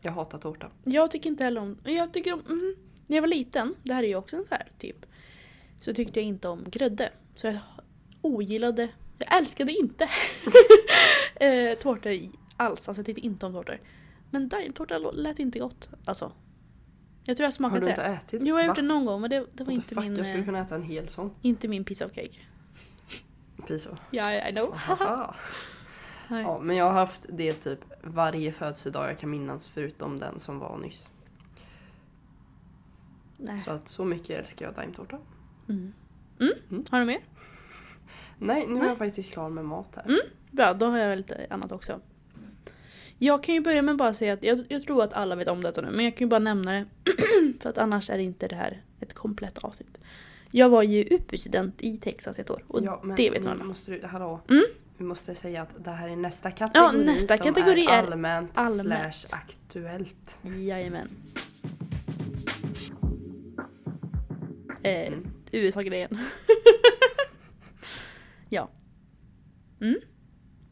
[SPEAKER 3] Jag hatar tårta.
[SPEAKER 2] Jag tycker inte heller om... Jag tycker om... Mm, när jag var liten, det här är ju också en sån här typ. Så tyckte jag inte om grädde. Så jag ogillade... Jag älskade inte eh, tårtor i alls. Alltså jag tyckte inte om tårtor. Men daimtårta lå- lät inte gott. Alltså. Jag tror jag
[SPEAKER 3] Har
[SPEAKER 2] smakat
[SPEAKER 3] du inte
[SPEAKER 2] det.
[SPEAKER 3] ätit?
[SPEAKER 2] Jo jag har gjort det
[SPEAKER 3] Va?
[SPEAKER 2] någon gång men det, det var
[SPEAKER 3] What the
[SPEAKER 2] inte
[SPEAKER 3] fuck?
[SPEAKER 2] min,
[SPEAKER 3] Jag skulle
[SPEAKER 2] eh,
[SPEAKER 3] kunna äta en hel sån.
[SPEAKER 2] inte min piece of cake.
[SPEAKER 3] Precis så.
[SPEAKER 2] Ja, yeah, I know.
[SPEAKER 3] Haha.
[SPEAKER 2] Nej.
[SPEAKER 3] ja, men jag har haft det typ varje födelsedag jag kan minnas förutom den som var nyss.
[SPEAKER 2] Nej.
[SPEAKER 3] Så att så mycket älskar jag daimtårta.
[SPEAKER 2] Mm. Mm? Har du mer?
[SPEAKER 3] Nej, nu är jag faktiskt klar med mat här.
[SPEAKER 2] Bra, då har jag väl lite annat också. Jag kan ju börja med att bara säga att jag, jag tror att alla vet om detta nu, men jag kan ju bara nämna det. för att annars är det inte det här ett komplett avsnitt. Jag var ju UPU-student i Texas ett år och
[SPEAKER 3] Ja, men
[SPEAKER 2] det vet
[SPEAKER 3] nu
[SPEAKER 2] någon om.
[SPEAKER 3] måste du, hallå.
[SPEAKER 2] Mm.
[SPEAKER 3] Vi måste säga att det här är nästa kategori
[SPEAKER 2] nästa
[SPEAKER 3] som
[SPEAKER 2] kategori
[SPEAKER 3] är
[SPEAKER 2] är
[SPEAKER 3] allmänt,
[SPEAKER 2] allmänt.
[SPEAKER 3] slash aktuellt.
[SPEAKER 2] Jajamän. Eh,
[SPEAKER 3] Mm.
[SPEAKER 2] USA-grejen. ja. Mm.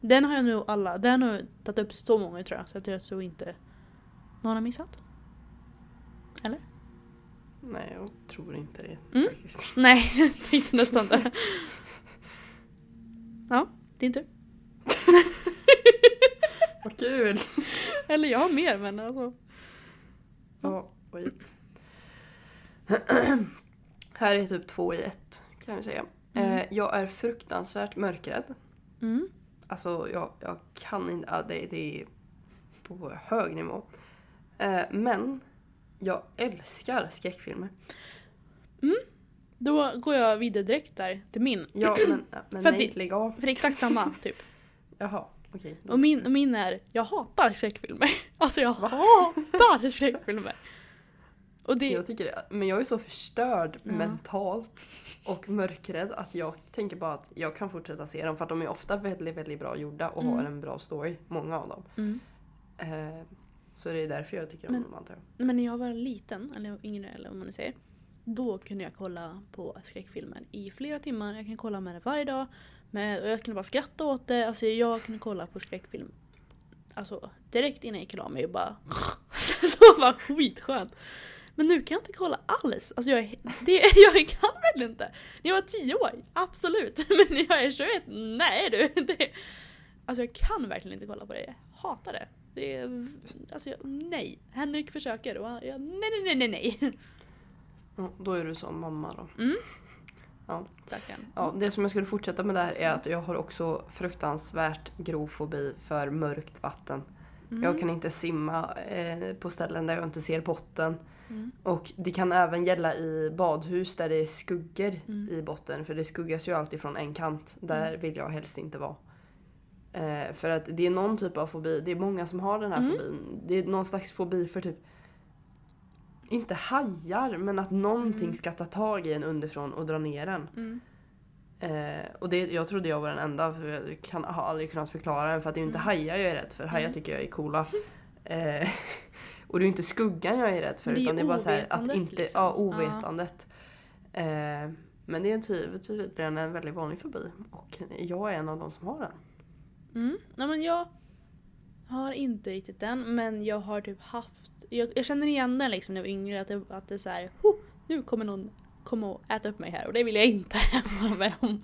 [SPEAKER 2] Den har jag nog alla, den har jag tagit upp så många tror jag, så att jag tror inte någon har missat. Eller?
[SPEAKER 3] Nej, jag tror inte det.
[SPEAKER 2] Mm.
[SPEAKER 3] faktiskt.
[SPEAKER 2] Nej, jag tänkte nästan det. Ja, din tur.
[SPEAKER 3] Vad kul!
[SPEAKER 2] Eller jag har mer men alltså.
[SPEAKER 3] Ja, skit. här är typ två i ett kan vi säga. Eh, jag är fruktansvärt mörkrädd.
[SPEAKER 2] Mm.
[SPEAKER 3] Alltså jag, jag kan inte, ja, det, det är på hög nivå. Eh, men jag älskar skräckfilmer.
[SPEAKER 2] Då går jag vidare direkt där till min.
[SPEAKER 3] Ja, men, ja, men
[SPEAKER 2] För att
[SPEAKER 3] nej,
[SPEAKER 2] det-
[SPEAKER 3] lägg av.
[SPEAKER 2] För det är exakt samma typ.
[SPEAKER 3] Jaha, okej.
[SPEAKER 2] Och min, och min är, jag hatar skräckfilmer. Alltså jag hatar skräckfilmer. Och det,
[SPEAKER 3] Jag tycker det. Men jag är så förstörd
[SPEAKER 2] Ja.
[SPEAKER 3] mentalt och mörkrädd att jag tänker bara att jag kan fortsätta se dem för att de är ofta väldigt, väldigt bra gjorda och har
[SPEAKER 2] Mm.
[SPEAKER 3] en bra story, många av dem.
[SPEAKER 2] Mm.
[SPEAKER 3] Eh, så det är därför jag tycker om
[SPEAKER 2] Men-
[SPEAKER 3] dem antar jag.
[SPEAKER 2] men när jag var liten, eller yngre eller vad man nu säger. Då kunde jag kolla på skräckfilmer i flera timmar. Jag kan kolla med det varje dag. Med, och jag kunde bara skratta åt det. Alltså jag kunde kolla på skräckfilm. Alltså direkt innan jag gick och la mig och bara... så det var skitskönt. Men nu kan jag inte kolla alls. Alltså jag, är- det, jag kan verkligen inte. När jag var 10 år, absolut. Men när jag är 21, nej du. Det, alltså jag kan verkligen inte kolla på det. Jag hatar det. det är, alltså jag, nej. Henrik försöker och han- jag, nej, nej, nej, nej, nej.
[SPEAKER 3] Ja, då är du som mamma då.
[SPEAKER 2] Stackarn.
[SPEAKER 3] Ja, det som jag skulle fortsätta med där är att jag har också fruktansvärt grov fobi för mörkt vatten. Jag kan inte simma eh, på ställen där jag inte ser botten. Och det kan även gälla i badhus där det är skuggor i botten. För det skuggas ju alltid från en kant. Där vill jag helst inte vara. Eh, för att det är någon typ av fobi. Det är många som har den här fobin. Det är någon slags fobi för typ inte hajar men att någonting ska ta tag i en underifrån och dra ner en.
[SPEAKER 2] Mm.
[SPEAKER 3] Eh, och det, jag trodde jag var den enda för jag kan, har aldrig kunnat förklara den för att det är ju
[SPEAKER 2] Mm.
[SPEAKER 3] inte hajar jag är rädd för. Hajar tycker jag är coola. Eh, och det är ju inte skuggan jag är rädd för
[SPEAKER 2] Men det är
[SPEAKER 3] utan det är bara så här att
[SPEAKER 2] ovetandet,
[SPEAKER 3] inte,
[SPEAKER 2] liksom.
[SPEAKER 3] ja ovetandet. Eh, men det är ty- tydligen en väldigt vanlig fobi och jag är en av de som har den.
[SPEAKER 2] Mm. Nej, men jag har inte riktigt den, men jag har typ haft... Jag, jag känner igen den liksom när jag var yngre, att det, att det är såhär oh, nu kommer någon komma och äta upp mig här och det vill jag inte vara med om.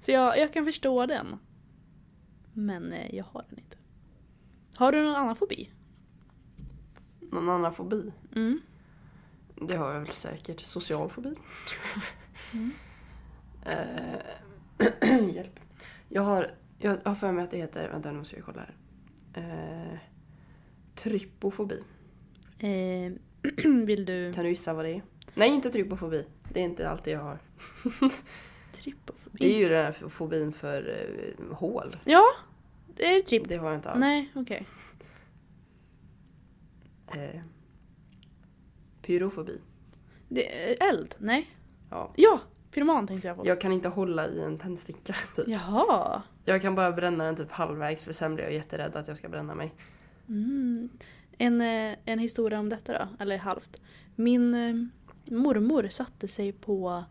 [SPEAKER 2] Så jag, jag kan förstå den. Men eh, jag har den inte. Har du någon annan fobi?
[SPEAKER 3] Någon annan fobi?
[SPEAKER 2] Mm.
[SPEAKER 3] Det har jag väl säkert. Social fobi. Eh, hjälp. Jag har, jag har för mig att det heter, vänta nu måste jag kolla här. Eh, trypofobi.
[SPEAKER 2] Eh, vill du...
[SPEAKER 3] Kan du gissa vad det är? Nej, inte trypofobi. Det är inte alltid jag har.
[SPEAKER 2] Trypofobi?
[SPEAKER 3] Det är ju den här fobin för eh, hål.
[SPEAKER 2] Ja! Det är tripp.
[SPEAKER 3] Det har jag inte alls.
[SPEAKER 2] Nej, okej.
[SPEAKER 3] Eh, pyrofobi.
[SPEAKER 2] Det är Eld? Nej.
[SPEAKER 3] Ja.
[SPEAKER 2] Ja! Pyroman tänkte jag på.
[SPEAKER 3] Jag kan inte hålla i en tändsticka typ.
[SPEAKER 2] Jaha.
[SPEAKER 3] Jag kan bara bränna den typ halvvägs för sen blir jag jätterädd att jag ska bränna mig.
[SPEAKER 2] Mm. En, eh, en historia om detta då, eller halvt. Min eh, mormor satte sig på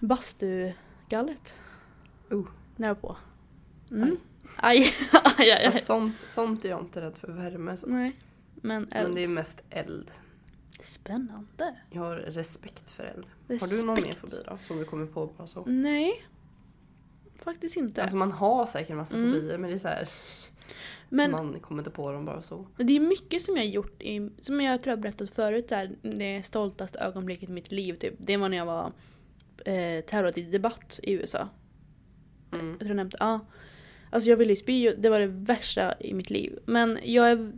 [SPEAKER 2] bastugallret.
[SPEAKER 3] Oh.
[SPEAKER 2] Nära på. Mm. Aj. aj, aj, aj.
[SPEAKER 3] Fast sånt, sånt är jag inte rädd för värme. Så.
[SPEAKER 2] Nej. Men, eld.
[SPEAKER 3] Men det är mest eld.
[SPEAKER 2] Spännande.
[SPEAKER 3] Jag har respekt för eld.
[SPEAKER 2] Respekt.
[SPEAKER 3] Har du någon mer fobi då? Som du kommer på bara så?
[SPEAKER 2] Nej. Faktiskt inte.
[SPEAKER 3] Alltså man har säkert en massa
[SPEAKER 2] Mm.
[SPEAKER 3] fobier men det är så här,
[SPEAKER 2] Men
[SPEAKER 3] man kommer inte på dem bara så.
[SPEAKER 2] det är mycket som jag har gjort, i, som jag tror jag har berättat förut, så här, det stoltaste ögonblicket i mitt liv typ. Det var när jag var eh, terrorad i debatt i USA.
[SPEAKER 3] Mm.
[SPEAKER 2] Jag tror jag nämnde, ja. Alltså jag ville ju spy, och det var det värsta i mitt liv. Men jag, är,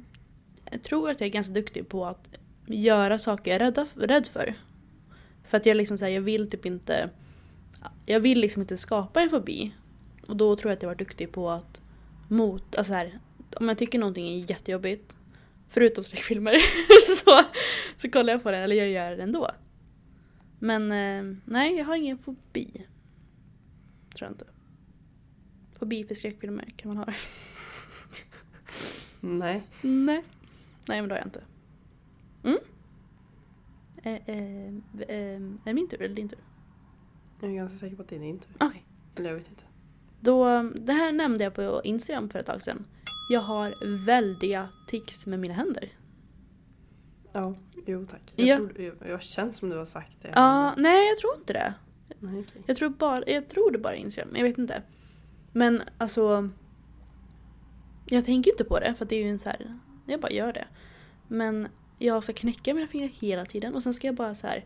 [SPEAKER 2] jag tror att jag är ganska duktig på att göra saker jag är rädd, rädd för. För att jag liksom säger jag vill typ inte, jag vill liksom inte skapa en fobi. Och då tror jag att jag var duktig på att mot, alltså så här, om jag tycker någonting är jättejobbigt, förutom skräckfilmer, så, så kollar jag på den, eller jag gör det ändå. Men eh, nej, jag har ingen fobi. Tror jag inte. Fobi för skräckfilmer kan man ha.
[SPEAKER 3] Nej.
[SPEAKER 2] Mm, Nej. Nej men det har jag inte. Mm. Eh, eh, eh, är det min tur eller din tur?
[SPEAKER 3] Jag är ganska säker på att det är din tur.
[SPEAKER 2] Okej.
[SPEAKER 3] Eller jag vet inte.
[SPEAKER 2] Då, det här nämnde jag på Instagram för ett tag sedan. Jag har väldiga tics med mina händer.
[SPEAKER 3] Ja, jo tack. Jag,
[SPEAKER 2] Ja.
[SPEAKER 3] tror, jag, jag känns som du har sagt det.
[SPEAKER 2] Ja, Ah, nej jag tror inte det.
[SPEAKER 3] Nej, okej.
[SPEAKER 2] Jag tror, bara, jag tror det bara är Instagram, jag vet inte. Men alltså... Jag tänker inte på det för att det är ju en så här... Jag bara gör det. Men jag ska knäcka mina fingrar hela tiden och sen ska jag bara så här...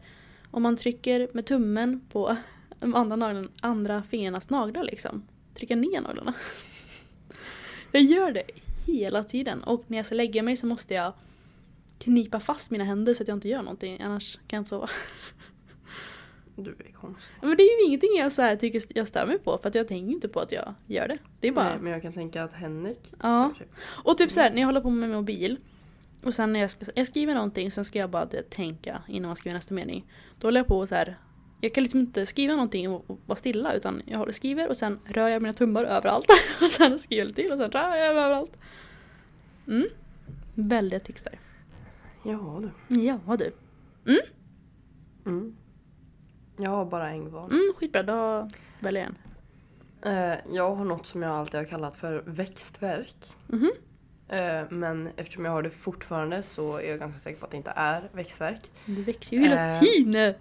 [SPEAKER 2] Om man trycker med tummen på de andra, naglarna, andra fingrarnas naglar liksom. Trycka ner naglarna. Jag gör det hela tiden och när jag ska lägga mig så måste jag knipa fast mina händer så att jag inte gör någonting annars kan jag inte sova.
[SPEAKER 3] Du är konstig.
[SPEAKER 2] Men det är ju ingenting jag så här tycker jag stör mig på för att jag tänker inte på att jag gör det. Det är bara...
[SPEAKER 3] Nej, men jag kan tänka att Henrik
[SPEAKER 2] Ja.
[SPEAKER 3] stör sig.
[SPEAKER 2] Och typ så här, när jag håller på med min mobil och sen när jag, ska, jag skriver någonting sen ska jag bara det, tänka innan man skriver nästa mening. Då håller jag på och så här. Jag kan liksom inte skriva någonting och, och vara stilla utan jag håller skriver och sen rör jag mina tummar överallt. och sen skriver jag lite till och sen rör jag överallt. Mm. Väldiga tics där.
[SPEAKER 3] Ja du.
[SPEAKER 2] Ja du.
[SPEAKER 3] Mm. Jag har bara en kvar.
[SPEAKER 2] Mm, skitbra, då väljer jag en.
[SPEAKER 3] Eh, jag har något som jag alltid har kallat för växtverk.
[SPEAKER 2] Mhm.
[SPEAKER 3] Eh, men eftersom jag har det fortfarande så är jag ganska säker på att det inte är växtverk.
[SPEAKER 2] Det växer ju hela
[SPEAKER 3] Eh.
[SPEAKER 2] tiden!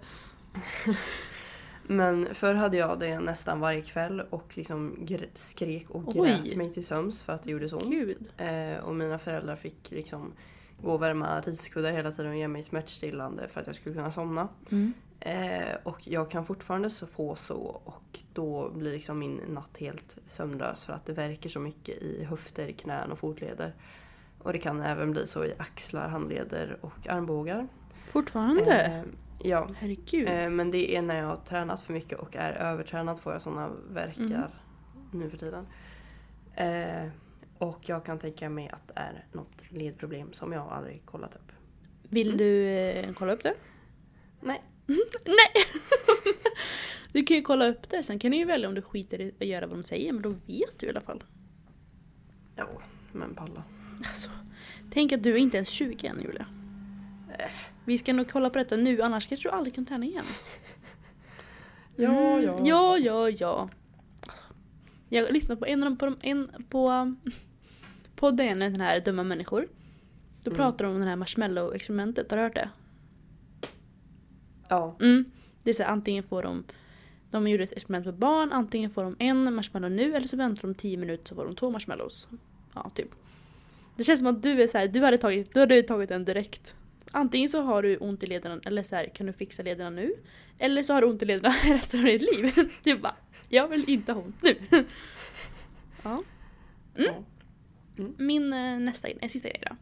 [SPEAKER 3] Men förr hade jag det nästan varje kväll och liksom gr- skrek och
[SPEAKER 2] Oj.
[SPEAKER 3] grät mig till sömns för att det gjorde så ont.
[SPEAKER 2] Gud.
[SPEAKER 3] Eh, och mina föräldrar fick liksom gå och värma riskuddar hela tiden och ge mig smärtstillande för att jag skulle kunna somna.
[SPEAKER 2] Mm.
[SPEAKER 3] Eh, och jag kan fortfarande så få så och då blir liksom min natt helt sömnlös för att det verkar så mycket i höfter, knän och fotleder. Och det kan även bli så i axlar, handleder och armbågar.
[SPEAKER 2] Fortfarande?
[SPEAKER 3] Eh, ja.
[SPEAKER 2] Herregud.
[SPEAKER 3] Eh, men det är när jag har tränat för mycket och är övertränad får jag sådana verkar
[SPEAKER 2] Mm.
[SPEAKER 3] nu för tiden. Eh, och jag kan tänka mig att det är något ledproblem som jag aldrig kollat upp.
[SPEAKER 2] Vill du eh, kolla upp det?
[SPEAKER 3] Nej.
[SPEAKER 2] Nej! du kan ju kolla upp det, sen kan du ju välja om du skiter i att göra vad de säger, men då vet du i alla fall.
[SPEAKER 3] Jo, men palla.
[SPEAKER 2] Alltså, tänk att du är inte ens 20 än Julia. Vi ska nog kolla på detta nu, annars kanske du aldrig kan träna igen.
[SPEAKER 3] Ja,
[SPEAKER 2] Mm, Ja, ja, ja. Jag lyssnade på en, av de- på, de- en på um, podden igen med den här Dumma människor. Då
[SPEAKER 3] Mm.
[SPEAKER 2] pratar de om det här marshmallow-experimentet, har du hört det?
[SPEAKER 3] Ja.
[SPEAKER 2] Mm. Det är så här, antingen får de de gjorde ett experiment på barn, antingen får de en marshmallow nu eller så väntar de 10 minuter så får de två marshmallows. Ja, typ. Det känns som att du är så här, du hade tagit, du hade tagit den direkt. Antingen så har du ont i lederna, eller så här, kan du fixa lederna nu? Eller så har du ont i lederna resten av ditt liv. Du bara, jag vill inte ha ont nu. Ja.
[SPEAKER 3] Ja.
[SPEAKER 2] Min eh, nästa, eh, sista grej då.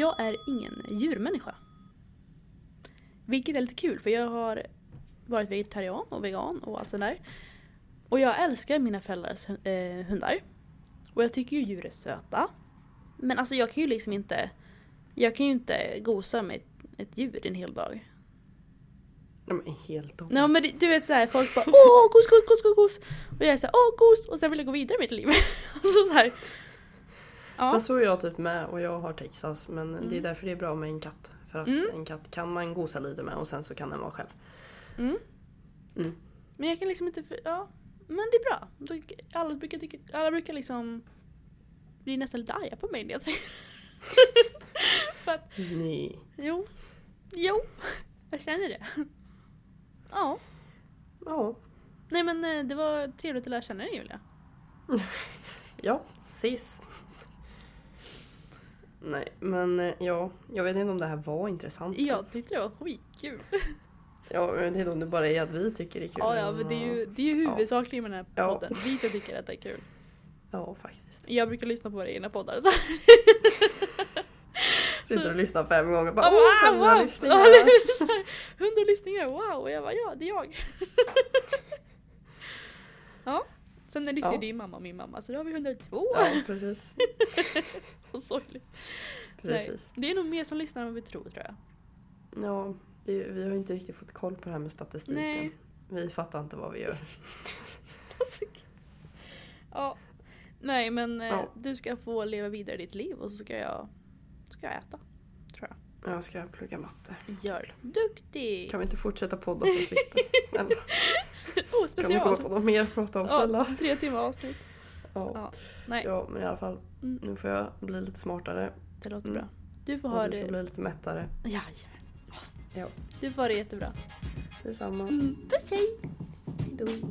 [SPEAKER 2] Jag är ingen djurmänniska. Vilket är lite kul för jag har varit vegetarian och vegan och allt sånt där. Och jag älskar mina föräldrars hu- eh, hundar. Och jag tycker ju djur är söta. Men alltså jag kan ju liksom inte Jag kan ju inte gosa med ett, ett djur en hel dag.
[SPEAKER 3] Ja, men helt dåligt.
[SPEAKER 2] Nej men det- du vet såhär folk bara åh gos, gos, gos, gos, gos. Och jag är såhär åh gos och sen vill jag gå vidare i mitt liv. alltså såhär. Ja.
[SPEAKER 3] Fast så är jag typ med och jag har Texas men det är
[SPEAKER 2] Mm.
[SPEAKER 3] därför det är bra med en katt. För att
[SPEAKER 2] Mm.
[SPEAKER 3] en katt kan man gosa lite med och sen så kan den vara själv.
[SPEAKER 2] Mm.
[SPEAKER 3] Mm.
[SPEAKER 2] Men jag kan liksom inte, för- ja. Men det är bra. Då- Alla brukar, tycka, alla brukar liksom bli nästan lite arga på mig när jag säger det. För att,
[SPEAKER 3] Nej.
[SPEAKER 2] jo. Jo. Jag känner det. Ja.
[SPEAKER 3] Ja.
[SPEAKER 2] Nej men eh, det var trevligt att lära känna dig Julia.
[SPEAKER 3] Ja, ses. Nej, men eh, ja, jag vet inte om det här var intressant.
[SPEAKER 2] Jag tyckte det var skitkul.
[SPEAKER 3] Ja, jag vet inte om det bara är att vi tycker det är kul.
[SPEAKER 2] Ja, ja men det är ju, det är ju
[SPEAKER 3] Ja.
[SPEAKER 2] huvudsakligen med den här
[SPEAKER 3] Ja.
[SPEAKER 2] podden. Vi som tycker att det är kul.
[SPEAKER 3] Ja, faktiskt.
[SPEAKER 2] Jag brukar lyssna på våra egna poddar. Så.
[SPEAKER 3] Sitter och lyssnar fem gånger och bara
[SPEAKER 2] Wow,
[SPEAKER 3] åh,
[SPEAKER 2] wow,
[SPEAKER 3] hundra
[SPEAKER 2] wow.
[SPEAKER 3] lyssningar.
[SPEAKER 2] Så här, Hundra lyssningar, wow! Och jag bara ja, det är jag. ja. Sen lyssnar ju
[SPEAKER 3] Ja.
[SPEAKER 2] din mamma och min mamma så då har vi 102.
[SPEAKER 3] Ja, precis.
[SPEAKER 2] Och sorgligt. Nej,
[SPEAKER 3] precis.
[SPEAKER 2] Det är nog mer som lyssnar än vad vi tror tror jag.
[SPEAKER 3] Ja, det, vi har ju inte riktigt fått koll på det här med statistiken.
[SPEAKER 2] Nej.
[SPEAKER 3] Vi fattar inte vad vi gör.
[SPEAKER 2] Alltså, gud. ja. Nej men eh,
[SPEAKER 3] Ja.
[SPEAKER 2] du ska få leva vidare ditt liv och så ska jag, ska jag äta. Tror jag.
[SPEAKER 3] Jag ska plugga matte.
[SPEAKER 2] Gör det. Duktig!
[SPEAKER 3] Kan vi inte fortsätta podda så vi slipper? Snälla.
[SPEAKER 2] oh,
[SPEAKER 3] Kan vi komma
[SPEAKER 2] special!
[SPEAKER 3] på något mer att prata om?
[SPEAKER 2] Ja,
[SPEAKER 3] Snälla.
[SPEAKER 2] tre timmar avsnitt.
[SPEAKER 3] Ja.
[SPEAKER 2] Ja. Nej,
[SPEAKER 3] ja, men i alla fall.
[SPEAKER 2] Mm.
[SPEAKER 3] Nu får jag bli lite smartare.
[SPEAKER 2] det låter
[SPEAKER 3] Mm.
[SPEAKER 2] bra. Du får ha
[SPEAKER 3] Och du ska
[SPEAKER 2] det...
[SPEAKER 3] bli lite mättare.
[SPEAKER 2] Jajamän.
[SPEAKER 3] Ja.
[SPEAKER 2] Du får ha det jättebra.
[SPEAKER 3] Detsamma.
[SPEAKER 2] Mm, puss hej!
[SPEAKER 3] Hejdå.